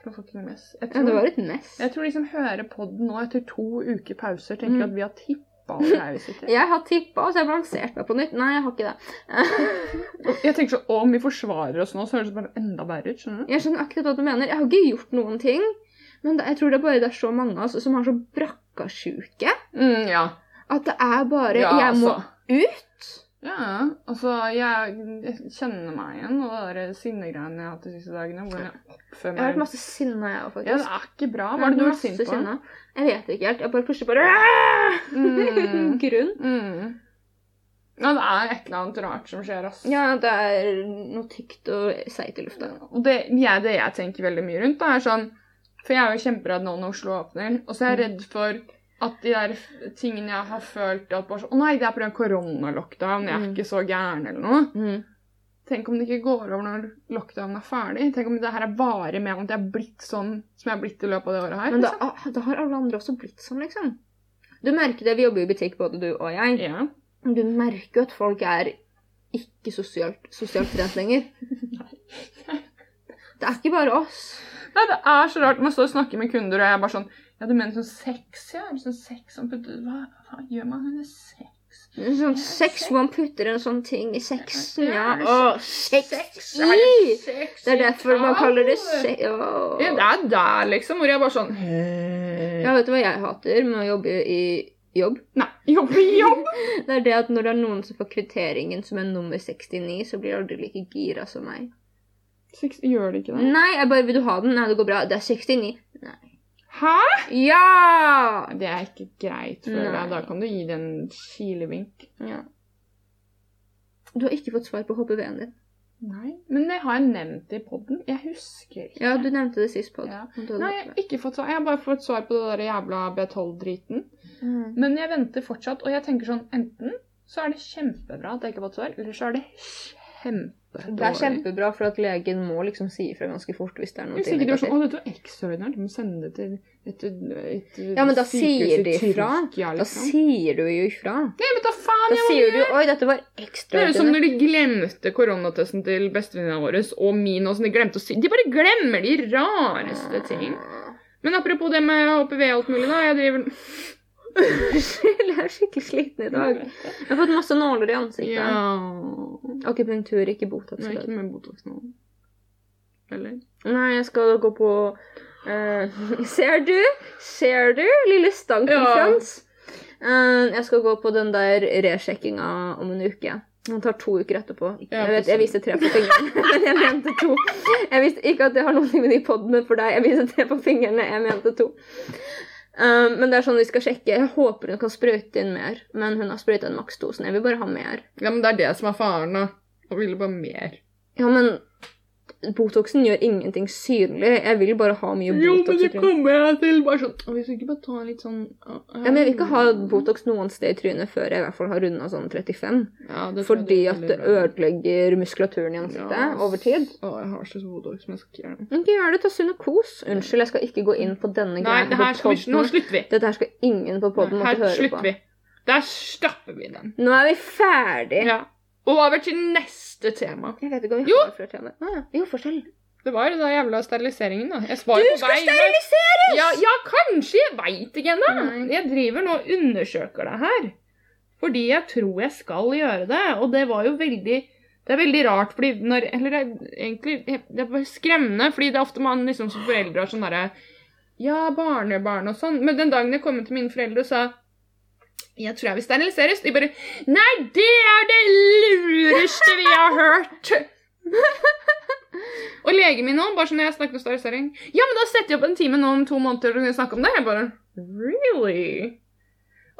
Speaker 2: For fucking mess. Jeg
Speaker 1: Ja,
Speaker 2: tror,
Speaker 1: det var et mess.
Speaker 2: jeg tror de som hører podden nå etter to uker pauser, tenker
Speaker 1: Mm.
Speaker 2: at vi har tippa over pauser til.
Speaker 1: Jeg har tippa, og så har jeg balansert meg på nytt. Nei, jeg har ikke det.
Speaker 2: Og Jeg tenker sånn, å, om vi forsvarer oss nå, så høres det bare enda verre ut, skjønner du?
Speaker 1: Jeg skjønner akkurat hva du mener. Jeg har ikke gjort noen ting. Men det, jeg tror det er bare det er så mange av oss som har så brakkasjuke
Speaker 2: Mm, ja.
Speaker 1: at det er bare
Speaker 2: Ja,
Speaker 1: Jeg må
Speaker 2: altså.
Speaker 1: ut.
Speaker 2: Ja, altså jeg, jeg kjenner meg igjen og det der sinnegreiene jeg har hatt de siste dagene. Hvordan jeg oppfører
Speaker 1: Jeg har
Speaker 2: meg.
Speaker 1: vært masse sinna, jeg òg,
Speaker 2: Ja, det
Speaker 1: faktisk.
Speaker 2: er ikke bra. Hva er det du er
Speaker 1: Masse
Speaker 2: sint på?
Speaker 1: sinna. Jeg vet ikke helt. Jeg bare plutselig bare
Speaker 2: Mm.
Speaker 1: Grunn.
Speaker 2: Mm. Ja, det er et eller annet rart som skjer, ass.
Speaker 1: Ja, det er noe tykt og seigt i lufta.
Speaker 2: Og det, jeg- det jeg tenker veldig mye rundt, da, er sånn For jeg er jo kjemperedd nå når Oslo åpner, og så er jeg redd for at de der f- tingene jeg har følt at bare sånn, Å nei, det er pga. koronalockdown, jeg er
Speaker 1: Mm.
Speaker 2: ikke så gæren eller noe.
Speaker 1: Mm.
Speaker 2: Tenk om det ikke går over når lockdownen er ferdig? Tenk om det her er varig med at jeg er blitt sånn som jeg er blitt i løpet av det året her?
Speaker 1: Men da, ah, da har alle andre også blitt sånn, liksom. Du merker det. Vi jobber jo i butikk, både du og jeg.
Speaker 2: liksom? Ja.
Speaker 1: Du merker jo at folk er ikke sosialt, sosialt trent lenger. Det er ikke bare oss.
Speaker 2: Nei, det er så rart. Man står og snakker med kunder, og jeg er bare sånn Ja, du mener sånn sex, ja? Er det Sånn sex som putter Hva, hva gjør man med sex?
Speaker 1: En Sånn sex hvor man putter en sånn ting i sexen, ja. Å, sex
Speaker 2: er
Speaker 1: i!
Speaker 2: sex
Speaker 1: Det er
Speaker 2: i
Speaker 1: derfor man
Speaker 2: tall?
Speaker 1: kaller det sex... Åh.
Speaker 2: Ja, det er der, liksom, hvor jeg bare sånn
Speaker 1: Ja, vet du hva jeg hater med å jobbe i jobb?
Speaker 2: Nei, jobb i jobb!
Speaker 1: Det er det at når det er noen som får kvitteringen som er nummer 69, så blir de aldri like gira som meg.
Speaker 2: Sex gjør det ikke det?
Speaker 1: Nei, jeg bare Vil du ha den? Nei, det går bra. Det er 69.
Speaker 2: Hæ?
Speaker 1: Ja!
Speaker 2: Det er ikke greit, føler
Speaker 1: Nei.
Speaker 2: jeg. Da kan du gi det en kilevink.
Speaker 1: ja. Du har ikke fått svar på HPV-en din.
Speaker 2: Nei, men det har jeg nevnt i poden. Jeg husker ikke.
Speaker 1: Ja, du nevnte det sist på
Speaker 2: Ja.
Speaker 1: Du hadde
Speaker 2: Nei, jeg
Speaker 1: vært
Speaker 2: har ikke fått svar. Jeg har bare fått svar på det der jævla B12-driten.
Speaker 1: med. Mm.
Speaker 2: Men jeg venter fortsatt, og jeg tenker sånn Enten så er det kjempebra at jeg ikke har fått svar, eller så er det kjempedårlig.
Speaker 1: Det er kjempebra, for at legen må liksom si ifra ganske fort hvis det er noe
Speaker 2: Hvis ikke du er sånn Å, dette var ekstraordinært, du må sende det til et, et, et
Speaker 1: Ja, men da
Speaker 2: sykehus
Speaker 1: sier
Speaker 2: i
Speaker 1: de ifra.
Speaker 2: Tyrkia,
Speaker 1: Da
Speaker 2: liksom.
Speaker 1: sier du jo ifra.
Speaker 2: Nei, men da faen!
Speaker 1: Da
Speaker 2: Jeg må
Speaker 1: sier du jo 'oi, dette var
Speaker 2: det er jo som
Speaker 1: ekstraordinært'.
Speaker 2: når de glemte koronatesten til bestevenninna vår og min. og sånn, De glemte å si, de bare glemmer de rareste ting. Men apropos det med HPV og alt mulig, da. Jeg driver
Speaker 1: Unnskyld, jeg er skikkelig sliten i dag. Jeg har fått masse nåler i ansiktet.
Speaker 2: Ja
Speaker 1: Akupunktur, ikke Botox.
Speaker 2: Nei,
Speaker 1: i dag.
Speaker 2: ikke med Botox nå. Eller?
Speaker 1: Nei, jeg skal gå på eh, Ser du? Ser du, lille stankenfrans? Eh, jeg skal gå på den der resjekkinga om en uke. Den tar to uker etterpå.
Speaker 2: Ja,
Speaker 1: Jeg vet, jeg viste tre på fingeren, men jeg mente to. Jeg visste ikke at det har noe med de podene for deg. Jeg viste tre på fingrene, jeg mente to. Eh, men det er sånn vi skal sjekke. Jeg håper hun kan sprøyte inn mer, men hun har sprøyta inn maksdosen. Jeg vil bare ha mer.
Speaker 2: Ja, men det er det som er faren, da. Han ville bare mer.
Speaker 1: Ja, men Botoxen gjør ingenting synlig. Jeg vil bare ha mye Botox. i trynet.
Speaker 2: kommer jeg til bare sånn «Å, Hvis du ikke bare tar litt sånn
Speaker 1: Ja, men Jeg vil ikke ha Botox noen sted i trynet før jeg i hvert fall har runda sånn 35.
Speaker 2: Ja, det tror jeg
Speaker 1: Fordi
Speaker 2: er
Speaker 1: at
Speaker 2: veldig
Speaker 1: det
Speaker 2: bra.
Speaker 1: ødelegger muskulaturen i ansiktet
Speaker 2: Ja, ass.
Speaker 1: over tid.
Speaker 2: Å, jeg har så Botox, men jeg skal ikke gjøre det.
Speaker 1: Ikke gjør det, ta sunn og kos. Unnskyld, jeg skal ikke gå inn på denne
Speaker 2: Nei,
Speaker 1: greia
Speaker 2: det
Speaker 1: på
Speaker 2: her skal vi, nå
Speaker 1: podden.
Speaker 2: slutter vi.
Speaker 1: Dette her skal ingen på poden måtte
Speaker 2: Her
Speaker 1: høre
Speaker 2: slutter
Speaker 1: på.
Speaker 2: vi. Der stapper vi den.
Speaker 1: Nå er vi ferdig.
Speaker 2: Ja. Over til neste tema.
Speaker 1: Jeg vet ikke om vi
Speaker 2: Jo.
Speaker 1: har flere temaer. Ah, ja. Jo, fortell.
Speaker 2: Det var jo den jævla steriliseringen, da. Jeg
Speaker 1: Du
Speaker 2: svarer på
Speaker 1: skal
Speaker 2: vegne-
Speaker 1: steriliseres!
Speaker 2: Ja, ja, kanskje. Jeg veit ikke ennå.
Speaker 1: Nei.
Speaker 2: Jeg driver nå og undersøker det her. Fordi jeg tror jeg skal gjøre det. Og det var jo veldig Det er veldig rart, fordi når Eller det er egentlig det er bare skremmende, fordi det er ofte man liksom som foreldre har sånn derre Ja, barnebarn og sånn. Men den dagen jeg kom til mine foreldre og sa jeg tror jeg vil steriliseres. De bare Nei, det er det lureste vi har hørt! og legen min òg, bare sånn jeg snakket om sterilisering Ja, men da setter jeg opp en time nå om to måneder og kan snakke om det. Jeg bare Really?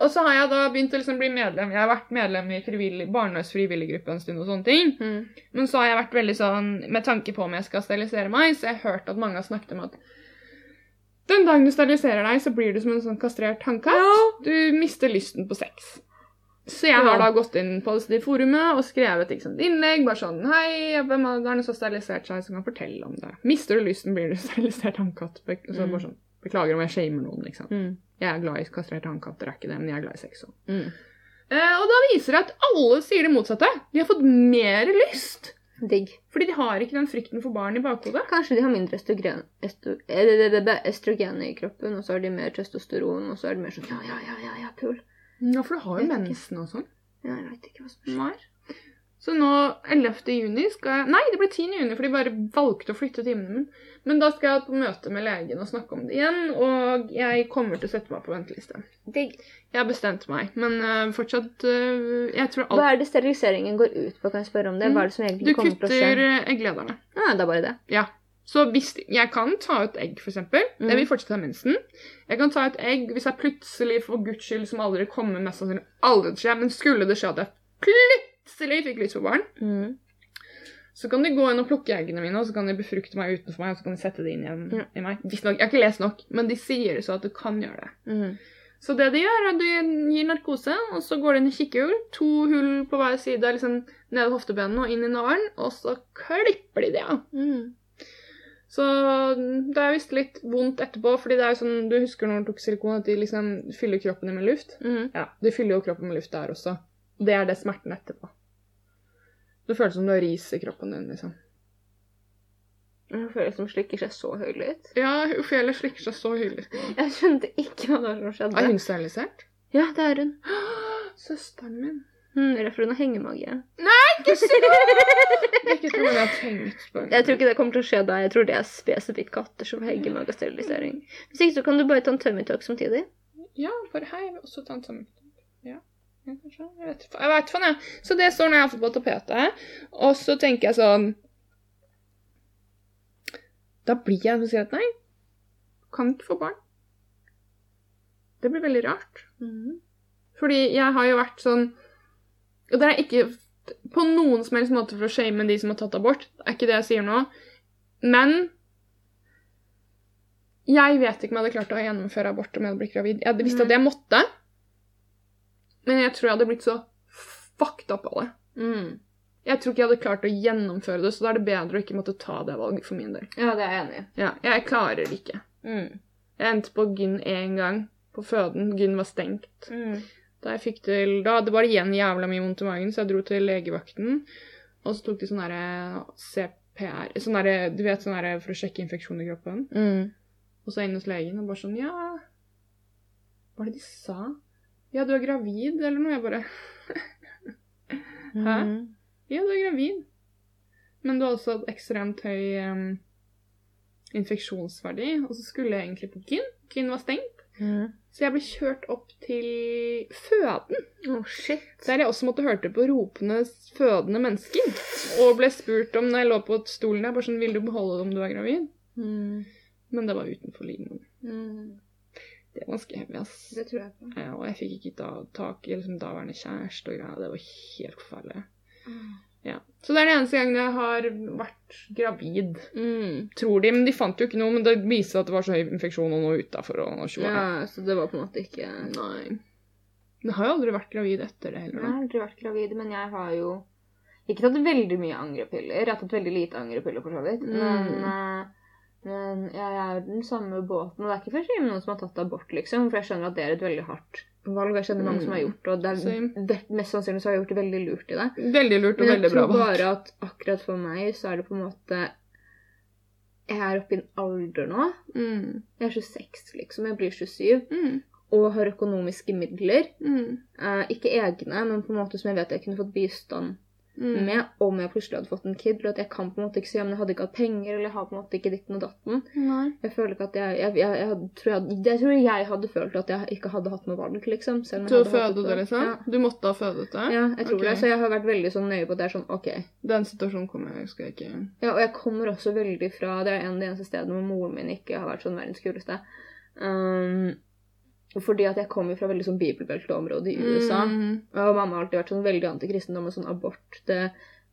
Speaker 2: Og så har jeg da begynt å liksom bli medlem. Jeg har vært medlem i frivillig, barnehus frivilliggruppe en stund og sånne ting.
Speaker 1: Mm.
Speaker 2: Men så har jeg vært veldig sånn med tanke på om jeg skal sterilisere meg, så jeg har hørt at mange har snakket om at den dagen du steriliserer deg, så blir du som en sånn kastrert hannkatt. Du mister lysten på sex. Så jeg
Speaker 1: Ja.
Speaker 2: har da gått inn på det forumet og skrevet liksom, et innlegg. bare sånn, hei, hvem av dere som har sterilisert seg, som kan fortelle om det? Mister du lysten, blir du sterilisert hannkatt. Be så
Speaker 1: Mm.
Speaker 2: bare sånn, Beklager om jeg shamer noen. liksom.
Speaker 1: Mm.
Speaker 2: Jeg er glad i kastrerte hannkatter, er ikke det, men jeg er glad i sex òg.
Speaker 1: Mm.
Speaker 2: Eh, og da viser det at alle sier det motsatte. De har fått mer lyst.
Speaker 1: Digg.
Speaker 2: Fordi de har ikke den frykten for barn i bakhodet.
Speaker 1: Kanskje de har mindre estrogen, estro, eh, det, det, det, det, estrogen i kroppen, og så har de mer testosteron, og så er det mer sånn ja, ja, ja, ja, ja pul.
Speaker 2: Ja, for du har
Speaker 1: jo
Speaker 2: mensen og sånn.
Speaker 1: Ja, jeg vet ikke hva som skjer.
Speaker 2: Nei. Så nå 11. juni skal jeg Nei, det ble 10. juni, for de bare valgte å flytte timene mine. Men da skal jeg på møte med legen og snakke om det igjen, og jeg kommer til å sette meg på venteliste.
Speaker 1: Digg.
Speaker 2: Jeg har bestemt meg, men eh, fortsatt eh, Jeg tror alt
Speaker 1: Hva er det steriliseringen går ut på? Kan jeg spørre om det? Hva er det som
Speaker 2: Du
Speaker 1: egentlig kommer til å skje?
Speaker 2: kutter eh, egglederne.
Speaker 1: Ja, det er bare det.
Speaker 2: Så hvis jeg kan ta ut egg, f.eks. Mm. Jeg vil fortsette å ha mensen. Jeg kan ta ut egg hvis jeg plutselig, for guds skyld, som aldri kommer mest sannsynlig aldri til å skje, men skulle det skje at jeg plutselig fikk lyst på barn,
Speaker 1: Mm.
Speaker 2: så kan de gå inn og plukke eggene mine, og så kan de befrukte meg utenfor meg, og så kan de sette det inn igjen
Speaker 1: Ja.
Speaker 2: i meg. Visstnok. Jeg har ikke lest nok, men de sier det så at du kan gjøre det.
Speaker 1: Mm.
Speaker 2: Så det de gjør, er at du gir narkose, og så går det inn i kikkehull. To hull på hver side, liksom nede ved hoftebenene og inn i navlen, og så klipper de det av.
Speaker 1: Mm.
Speaker 2: Så det er visst litt vondt etterpå, fordi det er jo sånn, du husker når du tok silikon, at de liksom fyller kroppen din med luft?
Speaker 1: Mm.
Speaker 2: Ja, de fyller jo kroppen med luft der også. Og det er det smerten etterpå. Det føles som du har ris i kroppen din, liksom.
Speaker 1: Jeg føler som slikker seg så høylytt.
Speaker 2: Ja, Ophelia slikker seg så hyggelig.
Speaker 1: Jeg skjønte ikke hva det var som
Speaker 2: Er
Speaker 1: skjedde.
Speaker 2: hun sterilisert?
Speaker 1: Ja, det er hun.
Speaker 2: Søsteren min.
Speaker 1: Mm, det er derfor hun har hengemage.
Speaker 2: Ikke si det! Ikke tror jeg har tenkt på
Speaker 1: Jeg tror ikke det kommer til å skje deg. Jeg tror det er spesifikt katter som har hengemage og sterilisering. Hvis ikke så kan du bare ta en tømmertåk samtidig.
Speaker 2: Ja, bare hei, jeg vil også ta en sammen. Ja, ja, kanskje. Jeg vet fa- jeg vet faen, jeg. Så det står når jeg har fått på tapetet. Og så tenker jeg sånn Da blir jeg den som sier at nei, kan ikke få barn. Det blir veldig rart.
Speaker 1: Mm.
Speaker 2: Fordi jeg har jo vært sånn Og det er ikke på noen som helst måte for å shame de som har tatt abort. Det er ikke det jeg sier nå. Men jeg vet ikke om jeg hadde klart å gjennomføre abort om jeg hadde blitt gravid. Jeg hadde visst at jeg måtte, men jeg tror jeg hadde blitt så fucked up av det.
Speaker 1: Mm.
Speaker 2: Jeg tror ikke jeg hadde klart å gjennomføre det, så da er det bedre å ikke måtte ta det valget for min del.
Speaker 1: Ja, det er jeg enig i.
Speaker 2: Ja, jeg klarer det ikke.
Speaker 1: Mm.
Speaker 2: Jeg endte på Gyn én gang, på føden. Gyn var stengt.
Speaker 1: Mm.
Speaker 2: Da jeg fikk til, da det var igjen jævla mye vondt i magen, så jeg dro til legevakten. Og så tok de sånn derre CPR sånn derre- Du vet sånn derre for å sjekke infeksjon i kroppen.
Speaker 1: Mm.
Speaker 2: Og så inn hos legen og bare sånn Ja, Hva var det de sa? Ja, du er gravid, eller noe. Jeg bare Hæ?
Speaker 1: Mhm.
Speaker 2: Ja, du er gravid. Men du har også hatt ekstremt høy em, infeksjonsverdi. Og så skulle jeg egentlig på gyn. Gyn var stengt.
Speaker 1: Mhm.
Speaker 2: Så jeg ble kjørt opp til føden,
Speaker 1: Å, shit.
Speaker 2: der jeg også måtte hørte på ropende fødende mennesker. Og ble spurt om når jeg lå på stolen der, bare sånn Vil du beholde det om du er gravid?
Speaker 1: Mhm.
Speaker 2: Men det var utenfor livmoren.
Speaker 1: Mhm.
Speaker 2: Det var ganske heavy, ass.
Speaker 1: Det tror jeg på.
Speaker 2: Ja, og jeg fikk ikke da, tak i liksom, daværende kjæreste og greier. Det var helt forferdelig. Ja. Så det er den eneste gangen jeg har vært gravid.
Speaker 1: Mm.
Speaker 2: Tror de, men de fant jo ikke noe. Men det viste seg at det var så høy infeksjon, og nå utafor og nå 20 år.
Speaker 1: Ja, så det var på en måte ikke
Speaker 2: Nei. Men jeg har jo aldri vært gravid etter det
Speaker 1: Jeg
Speaker 2: heller.
Speaker 1: har
Speaker 2: da.
Speaker 1: aldri vært gravid, men jeg har jo ikke tatt veldig mye angrepiller. Jeg har tatt veldig lite angrepiller, for så vidt. Men, eh, men jeg er i den samme båten. Og det er ikke først noen som har tatt abort, liksom. For jeg skjønner at det er et veldig hardt valg. Jeg kjenner mange som har gjort det, og det
Speaker 2: Same.
Speaker 1: er, det, mest sannsynlig så har jeg gjort det veldig lurt i det.
Speaker 2: Veldig lurt og
Speaker 1: Men jeg
Speaker 2: veldig bra.
Speaker 1: tror bare at akkurat for meg så er det på en måte Jeg er oppe i en alder nå.
Speaker 2: Mm.
Speaker 1: Jeg er 26, liksom. Jeg blir 27.
Speaker 2: Mm.
Speaker 1: Og har økonomiske midler.
Speaker 2: Mm.
Speaker 1: Eh, ikke egne, men på en måte som jeg vet jeg kunne fått bistand
Speaker 2: Mm.
Speaker 1: med om jeg plutselig hadde fått en kid. Eller at jeg kan på en måte ikke si om jeg hadde ikke hatt penger, eller jeg har på en måte ikke ditten og datten.
Speaker 2: Nei.
Speaker 1: Jeg føler ikke at jeg jeg, jeg, jeg, hadde- tror jeg, hadde- jeg tror jeg hadde følt at jeg ikke hadde hatt noe valg, liksom. selv om jeg
Speaker 2: Til å
Speaker 1: hadde hatt
Speaker 2: føde det, liksom?
Speaker 1: Ja.
Speaker 2: Du måtte ha fødet det?
Speaker 1: Ja, jeg tror
Speaker 2: Ok.
Speaker 1: det. Så jeg har vært veldig sånn nøye på at det er sånn OK.
Speaker 2: Den situasjonen kommer jeg, husker jeg ikke.
Speaker 1: Ja, og jeg kommer også veldig fra Det er en av de eneste stedene hvor moren min ikke har vært sånn verdens kuleste. Um, fordi at jeg kommer fra veldig sånn bibelbelteområde i USA.
Speaker 2: Mm.
Speaker 1: Og mamma har alltid vært sånn veldig antikristendom og sånn abort. Det,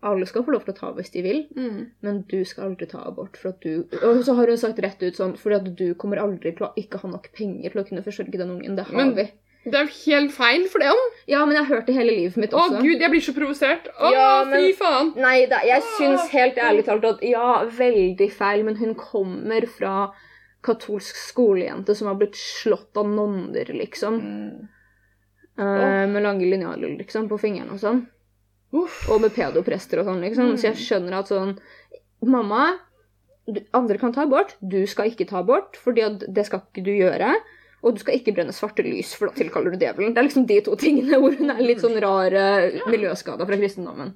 Speaker 1: alle skal få lov til å ta hvis de vil,
Speaker 2: Mm.
Speaker 1: men du skal aldri ta abort. For at du, og så har hun sagt rett ut sånn fordi at du kommer aldri til å ikke ha nok penger til å kunne forsørge den ungen. Det har
Speaker 2: Men-
Speaker 1: vi.
Speaker 2: Det er jo helt feil for det, om.
Speaker 1: Ja, men jeg har hørt det hele livet mitt
Speaker 2: Å
Speaker 1: også.
Speaker 2: gud, jeg blir så provosert. Å,
Speaker 1: Ja, men-
Speaker 2: fy faen.
Speaker 1: Nei da, jeg syns helt ærlig talt at ja, veldig feil, men hun kommer fra katolsk skolejente som har blitt slått av nonner, liksom. Eh, med lange linjaler, liksom, på fingrene og sånn.
Speaker 2: Uff.
Speaker 1: Og med pedoprester og sånn, liksom. Så jeg skjønner at sånn Mamma, du, andre kan ta abort. Du skal ikke ta abort, fordi at det skal ikke du gjøre. Og du skal ikke brenne svarte lys, for da tilkaller du djevelen. Det er liksom de to tingene hvor hun er litt sånn rar uh, miljøskada fra kristendommen.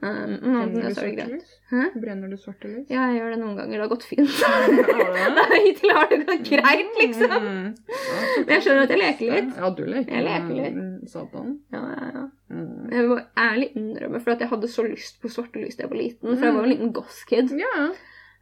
Speaker 1: Um, men
Speaker 2: Brenner du
Speaker 1: ellers er det
Speaker 2: svarte
Speaker 1: greit.
Speaker 2: lys?
Speaker 1: Hæ?
Speaker 2: Brenner du svarte lys?
Speaker 1: Ja, jeg gjør det noen ganger. Det har gått fint. Nei, Hittil har det gått greit, liksom.
Speaker 2: Mm.
Speaker 1: Men jeg skjønner at jeg leker litt.
Speaker 2: Ja, du leker.
Speaker 1: Jeg leker litt.
Speaker 2: Mm, Satan.
Speaker 1: Ja, ja, ja.
Speaker 2: Mm.
Speaker 1: Jeg må ærlig innrømme, for at jeg hadde så lyst på svarte lys da jeg var liten. For jeg var jo en liten goth-kid.
Speaker 2: Ja.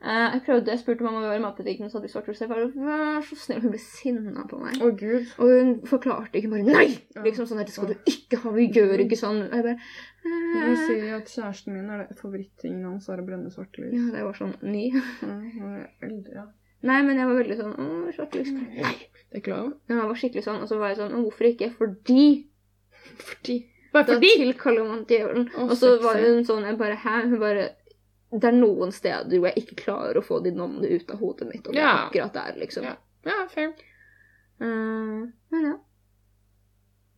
Speaker 1: Eh, jeg prøvde, jeg spurte mamma hva det var i matbutikken, og så hadde vi svart hus. Jeg bare, vær så snill, hun ble sinna på meg.
Speaker 2: Å gud.
Speaker 1: Og hun forklarte ikke bare nei!
Speaker 2: Ja.
Speaker 1: Liksom sånn, dette skal du ikke ha, vi gjør ikke sånn. Og jeg bare
Speaker 2: Jeg
Speaker 1: eh.
Speaker 2: sier at kjæresten min er det favorittingen hans er å brenne svarte lys.
Speaker 1: Ja, det var sånn ny.
Speaker 2: Mm, jeg er eldre, ja.
Speaker 1: Nei, men jeg var veldig sånn Å, svart lys. Nei.
Speaker 2: Det er klart.
Speaker 1: Men jeg var skikkelig sånn, og så var jeg sånn «Å, Hvorfor ikke? Fordi
Speaker 2: Fordi. Bare
Speaker 1: da
Speaker 2: fordi.
Speaker 1: tilkaller man djevelen.
Speaker 2: Å,
Speaker 1: og så
Speaker 2: sexy.
Speaker 1: var hun sånn Jeg bare Hæ? Hun bare Det er noen steder hvor jeg ikke klarer å få de navnene ut av hodet mitt, og det er
Speaker 2: Ja.
Speaker 1: akkurat der, liksom.
Speaker 2: Ja, fair.
Speaker 1: Eh, men ja.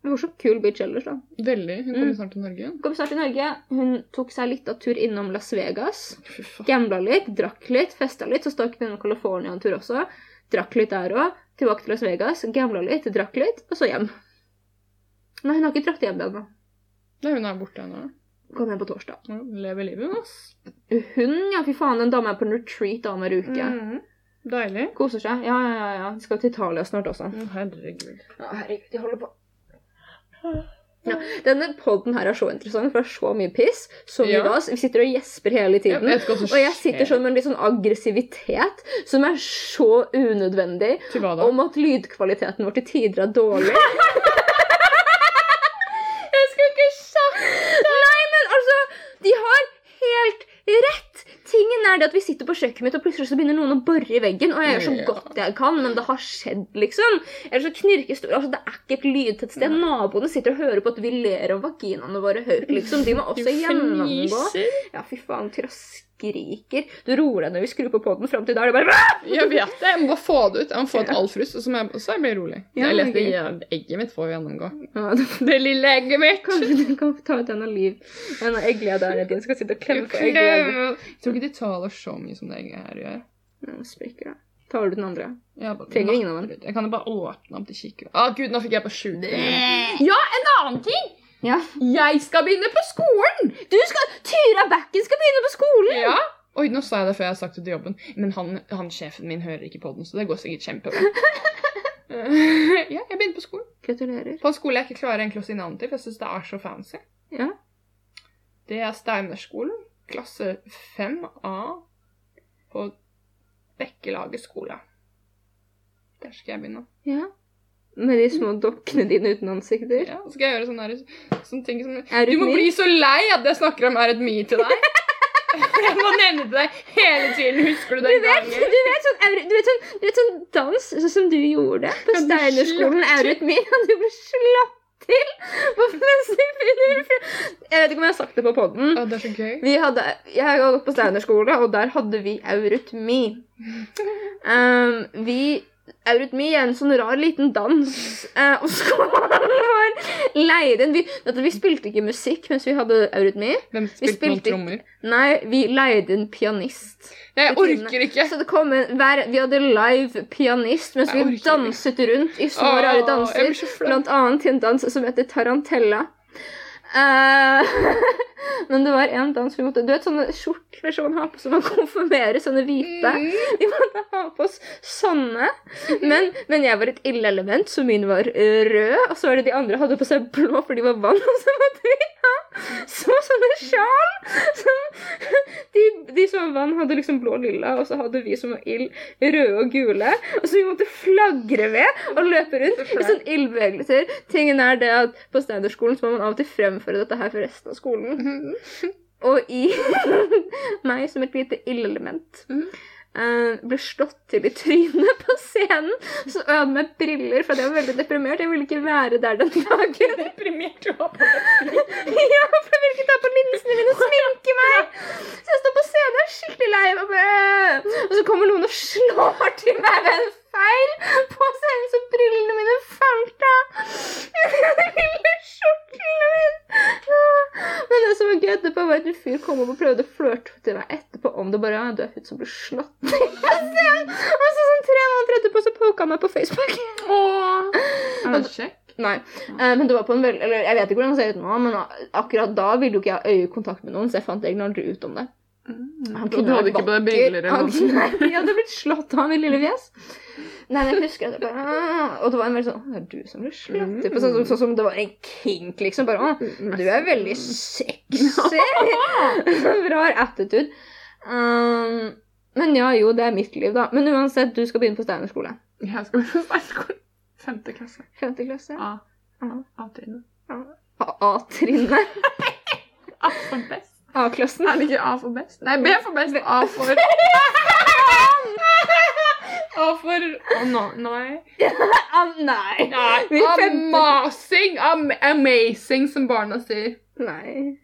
Speaker 1: Hun var så kul bitch ellers, da.
Speaker 2: Veldig. Hun kommer
Speaker 1: Mm.
Speaker 2: snart til Norge.
Speaker 1: Kom snart til Norge. Hun tok seg litt av tur innom Las Vegas.
Speaker 2: Fy faen.
Speaker 1: Gambla litt, drakk litt, festa litt. Så stakk hun innom California en tur også. Drakk litt der òg. Tilbake til Las Vegas. Gambla litt, drakk litt, og så hjem. Nei, hun har ikke dratt hjem ennå.
Speaker 2: Nei, hun er borte ennå.
Speaker 1: Kom hjem på torsdag.
Speaker 2: Hun Lever livet, hun, ass.
Speaker 1: Hun, ja, fy faen, den dama er på en retreat annenhver uke.
Speaker 2: Mm. Deilig.
Speaker 1: Koser seg. Ja, ja, ja. ja. De skal til Italia snart også.
Speaker 2: Å, Herregud.
Speaker 1: Ja, herregud, de holder på. Ja, denne poden her er så interessant, for det er så mye piss. Så mye
Speaker 2: Ja.
Speaker 1: vas. Vi sitter og gjesper hele tiden.
Speaker 2: Jeg vet ikke hva som
Speaker 1: og jeg
Speaker 2: skjer.
Speaker 1: sitter sånn med en litt sånn aggressivitet som er så unødvendig,
Speaker 2: Til hva da?
Speaker 1: sånn om at lydkvaliteten vår til tider er dårlig. jeg skulle ikke sagt det! Nei, men altså De har helt rett! Tingen er det at vi sitter på kjøkkenet mitt, og plutselig så begynner noen å bore i veggen. Og jeg gjør så
Speaker 2: Ja.
Speaker 1: godt jeg kan, men det har skjedd, liksom. Eller så knirkes det altså, Det er ikke et lydtett sted. Naboene sitter og hører på at vi ler om vaginaene våre høyt, liksom. De må
Speaker 2: Du
Speaker 1: også gjennomgå.
Speaker 2: fniser.
Speaker 1: Ja, fy faen, Tyra skriker. Du roer deg når vi skrur på podden Fram til da er det bare
Speaker 2: Jeg vet det. Jeg må bare få det ut. Jeg må få ut all frust, og så, må jeg, så jeg blir rolig.
Speaker 1: Ja,
Speaker 2: jeg leser,
Speaker 1: ok.
Speaker 2: jeg, egget mitt får jo gjennomgå.
Speaker 1: ja, det-
Speaker 2: Det lille egget mitt!
Speaker 1: Kanskje du kan få ta ut en av liv En av egglederne dine skal sitte og klemme på egglederen.
Speaker 2: Jeg tror ikke de taler så mye som det egget her gjør.
Speaker 1: Nå sprekker det. Tar du den andre?
Speaker 2: Jeg bare,
Speaker 1: Trenger ingen av dem.
Speaker 2: Jeg kan jo bare åpne opp til kikker. Å, gud, nå fikk jeg på sju. Ja, en annen ting!
Speaker 1: Ja.
Speaker 2: Jeg skal begynne på skolen!
Speaker 1: Du skal, Tyra Bekken skal begynne på skolen!
Speaker 2: Ja. Oi, nå sa jeg det før jeg har sagt det til jobben, men han, han sjefen min hører ikke på den, så det går sikkert kjempebra. Eh, ja, jeg begynner på skolen.
Speaker 1: Gratulerer.
Speaker 2: På en skole jeg ikke klarer egentlig å si navnet til, for jeg syns det er så fancy.
Speaker 1: Ja.
Speaker 2: Det er Steinerskolen, klasse 5A på Bekkelaget skole. Der skal jeg begynne.
Speaker 1: Ja. Med de små dokkene dine uten ansikter.
Speaker 2: Ja, så skal jeg gjøre sånne, her- sånne ting som
Speaker 1: Er
Speaker 2: Du
Speaker 1: du
Speaker 2: må
Speaker 1: snill?
Speaker 2: bli så lei at jeg snakker om er et mye til deg. Jeg må nevne det deg hele tiden. Husker du
Speaker 1: Du
Speaker 2: den
Speaker 1: vet,
Speaker 2: gangen?
Speaker 1: du, vet sånn, auri- du, vet sånn, du vet sånn dans sånn som du gjorde på
Speaker 2: Ja, du
Speaker 1: Steinerskolen
Speaker 2: slapp til.
Speaker 1: Auritmin? Og du ble slapp til! på mens du begynner å fly- Jeg vet ikke om jeg har sagt det på podden.
Speaker 2: Å, det er så gøy.
Speaker 1: Vi hadde, jeg har gått på Steinerskole, og der hadde vi eurytmi. Um, vi, eurytmi er en sånn rar liten dans, eh, og skolen var leid inn. Vi, vet du, vi spilte ikke musikk mens vi hadde eurytmi.
Speaker 2: Hvem
Speaker 1: Vi
Speaker 2: spilte noen
Speaker 1: spilte-
Speaker 2: trommer?
Speaker 1: Nei, vi leide inn pianist.
Speaker 2: Jeg
Speaker 1: Bettina.
Speaker 2: orker ikke.
Speaker 1: Så det kom en, hver, vi hadde live pianist mens
Speaker 2: Jeg
Speaker 1: vi
Speaker 2: orker
Speaker 1: danset rundt i små rare
Speaker 2: Åh, jeg
Speaker 1: danser.
Speaker 2: blir så flau.
Speaker 1: Blant annet til en dans som heter Tarantella. Eh, men det var en dans vi måtte Du vet sånne skjorter som man har på som man konfirmerer, sånne hvite.
Speaker 2: Mm.
Speaker 1: Vi måtte ha på oss sånne. Men, men jeg var et ille element, så min var eh, rød. Og så var det de andre hadde på seg blå, for de var vann. Og så måtte vi ha små sånne sjal. Som, de, de som var vann, hadde liksom blå og lilla, og så hadde vi som var ild, røde og gule. Og så vi måtte flagre ved og løpe rundt i sånn ildbevegelser. Tingen er det at på Steinerskolen så må man av og til fremføre dette her for resten av skolen.
Speaker 2: Mm.
Speaker 1: Og i meg som et lite illelement.
Speaker 2: Mhm.
Speaker 1: eh, ble slått til i trynet på scenen. Så og jeg hadde med briller, for jeg var veldig deprimert. Jeg ville ikke være der den dagen.
Speaker 2: Deprimert du var på det.
Speaker 1: ja, for jeg ville ikke ta på linsene mine og sminke meg. Så jeg står på scenen og er skikkelig lei meg. bare, Og så kommer noen og slår til meg ved en feil på scenen, så brillene mine falt av. Den lille skjorten min. Ja. Men det som var gøy etterpå, var at en fyr kom opp og prøvde å flørte til meg etterpå om det bare ja, du er hun som ble slått til på scenen. Og så sånn tre måneder etterpå så poka han meg på Facebook.
Speaker 2: Er det kjekk?
Speaker 1: Nei. Eh, men det var på en veld... Eller jeg vet ikke hvordan han ser ut nå, men a- akkurat da ville jo ikke jeg ha øyekontakt med noen, så jeg fant egentlig aldri ut om det. Han
Speaker 2: Og du
Speaker 1: kunne
Speaker 2: hadde
Speaker 1: vært
Speaker 2: ikke på deg
Speaker 1: vakker.
Speaker 2: briller eller
Speaker 1: Han-
Speaker 2: noe sånt?
Speaker 1: Nei, jeg hadde blitt slått av min lille fjes. Nei, men jeg husker at jeg bare «Ah», Og det var en veldig sånn «Å, Det er du som blir slått til på sånn, som- sånn som det var en kink, liksom. Bare «Å, du er veldig sexy. Rar attitude. Um, men ja, jo, det er mitt liv, da. Men uansett, du skal begynne på Steiner skole.
Speaker 2: Jeg skal på steinskolen. Femte klasse.
Speaker 1: Femte klasse.
Speaker 2: A.
Speaker 1: A.
Speaker 2: A-trinnet.
Speaker 1: A- A-trinnet.
Speaker 2: A for best.
Speaker 1: A-klassen.
Speaker 2: Er det ikke A for best? Nei, B for best. A for A for Å, nå, nei.
Speaker 1: Ah, nei.
Speaker 2: Nei,
Speaker 1: Vi er femte-
Speaker 2: Amazing! Am amazing, som barna sier.
Speaker 1: Nei.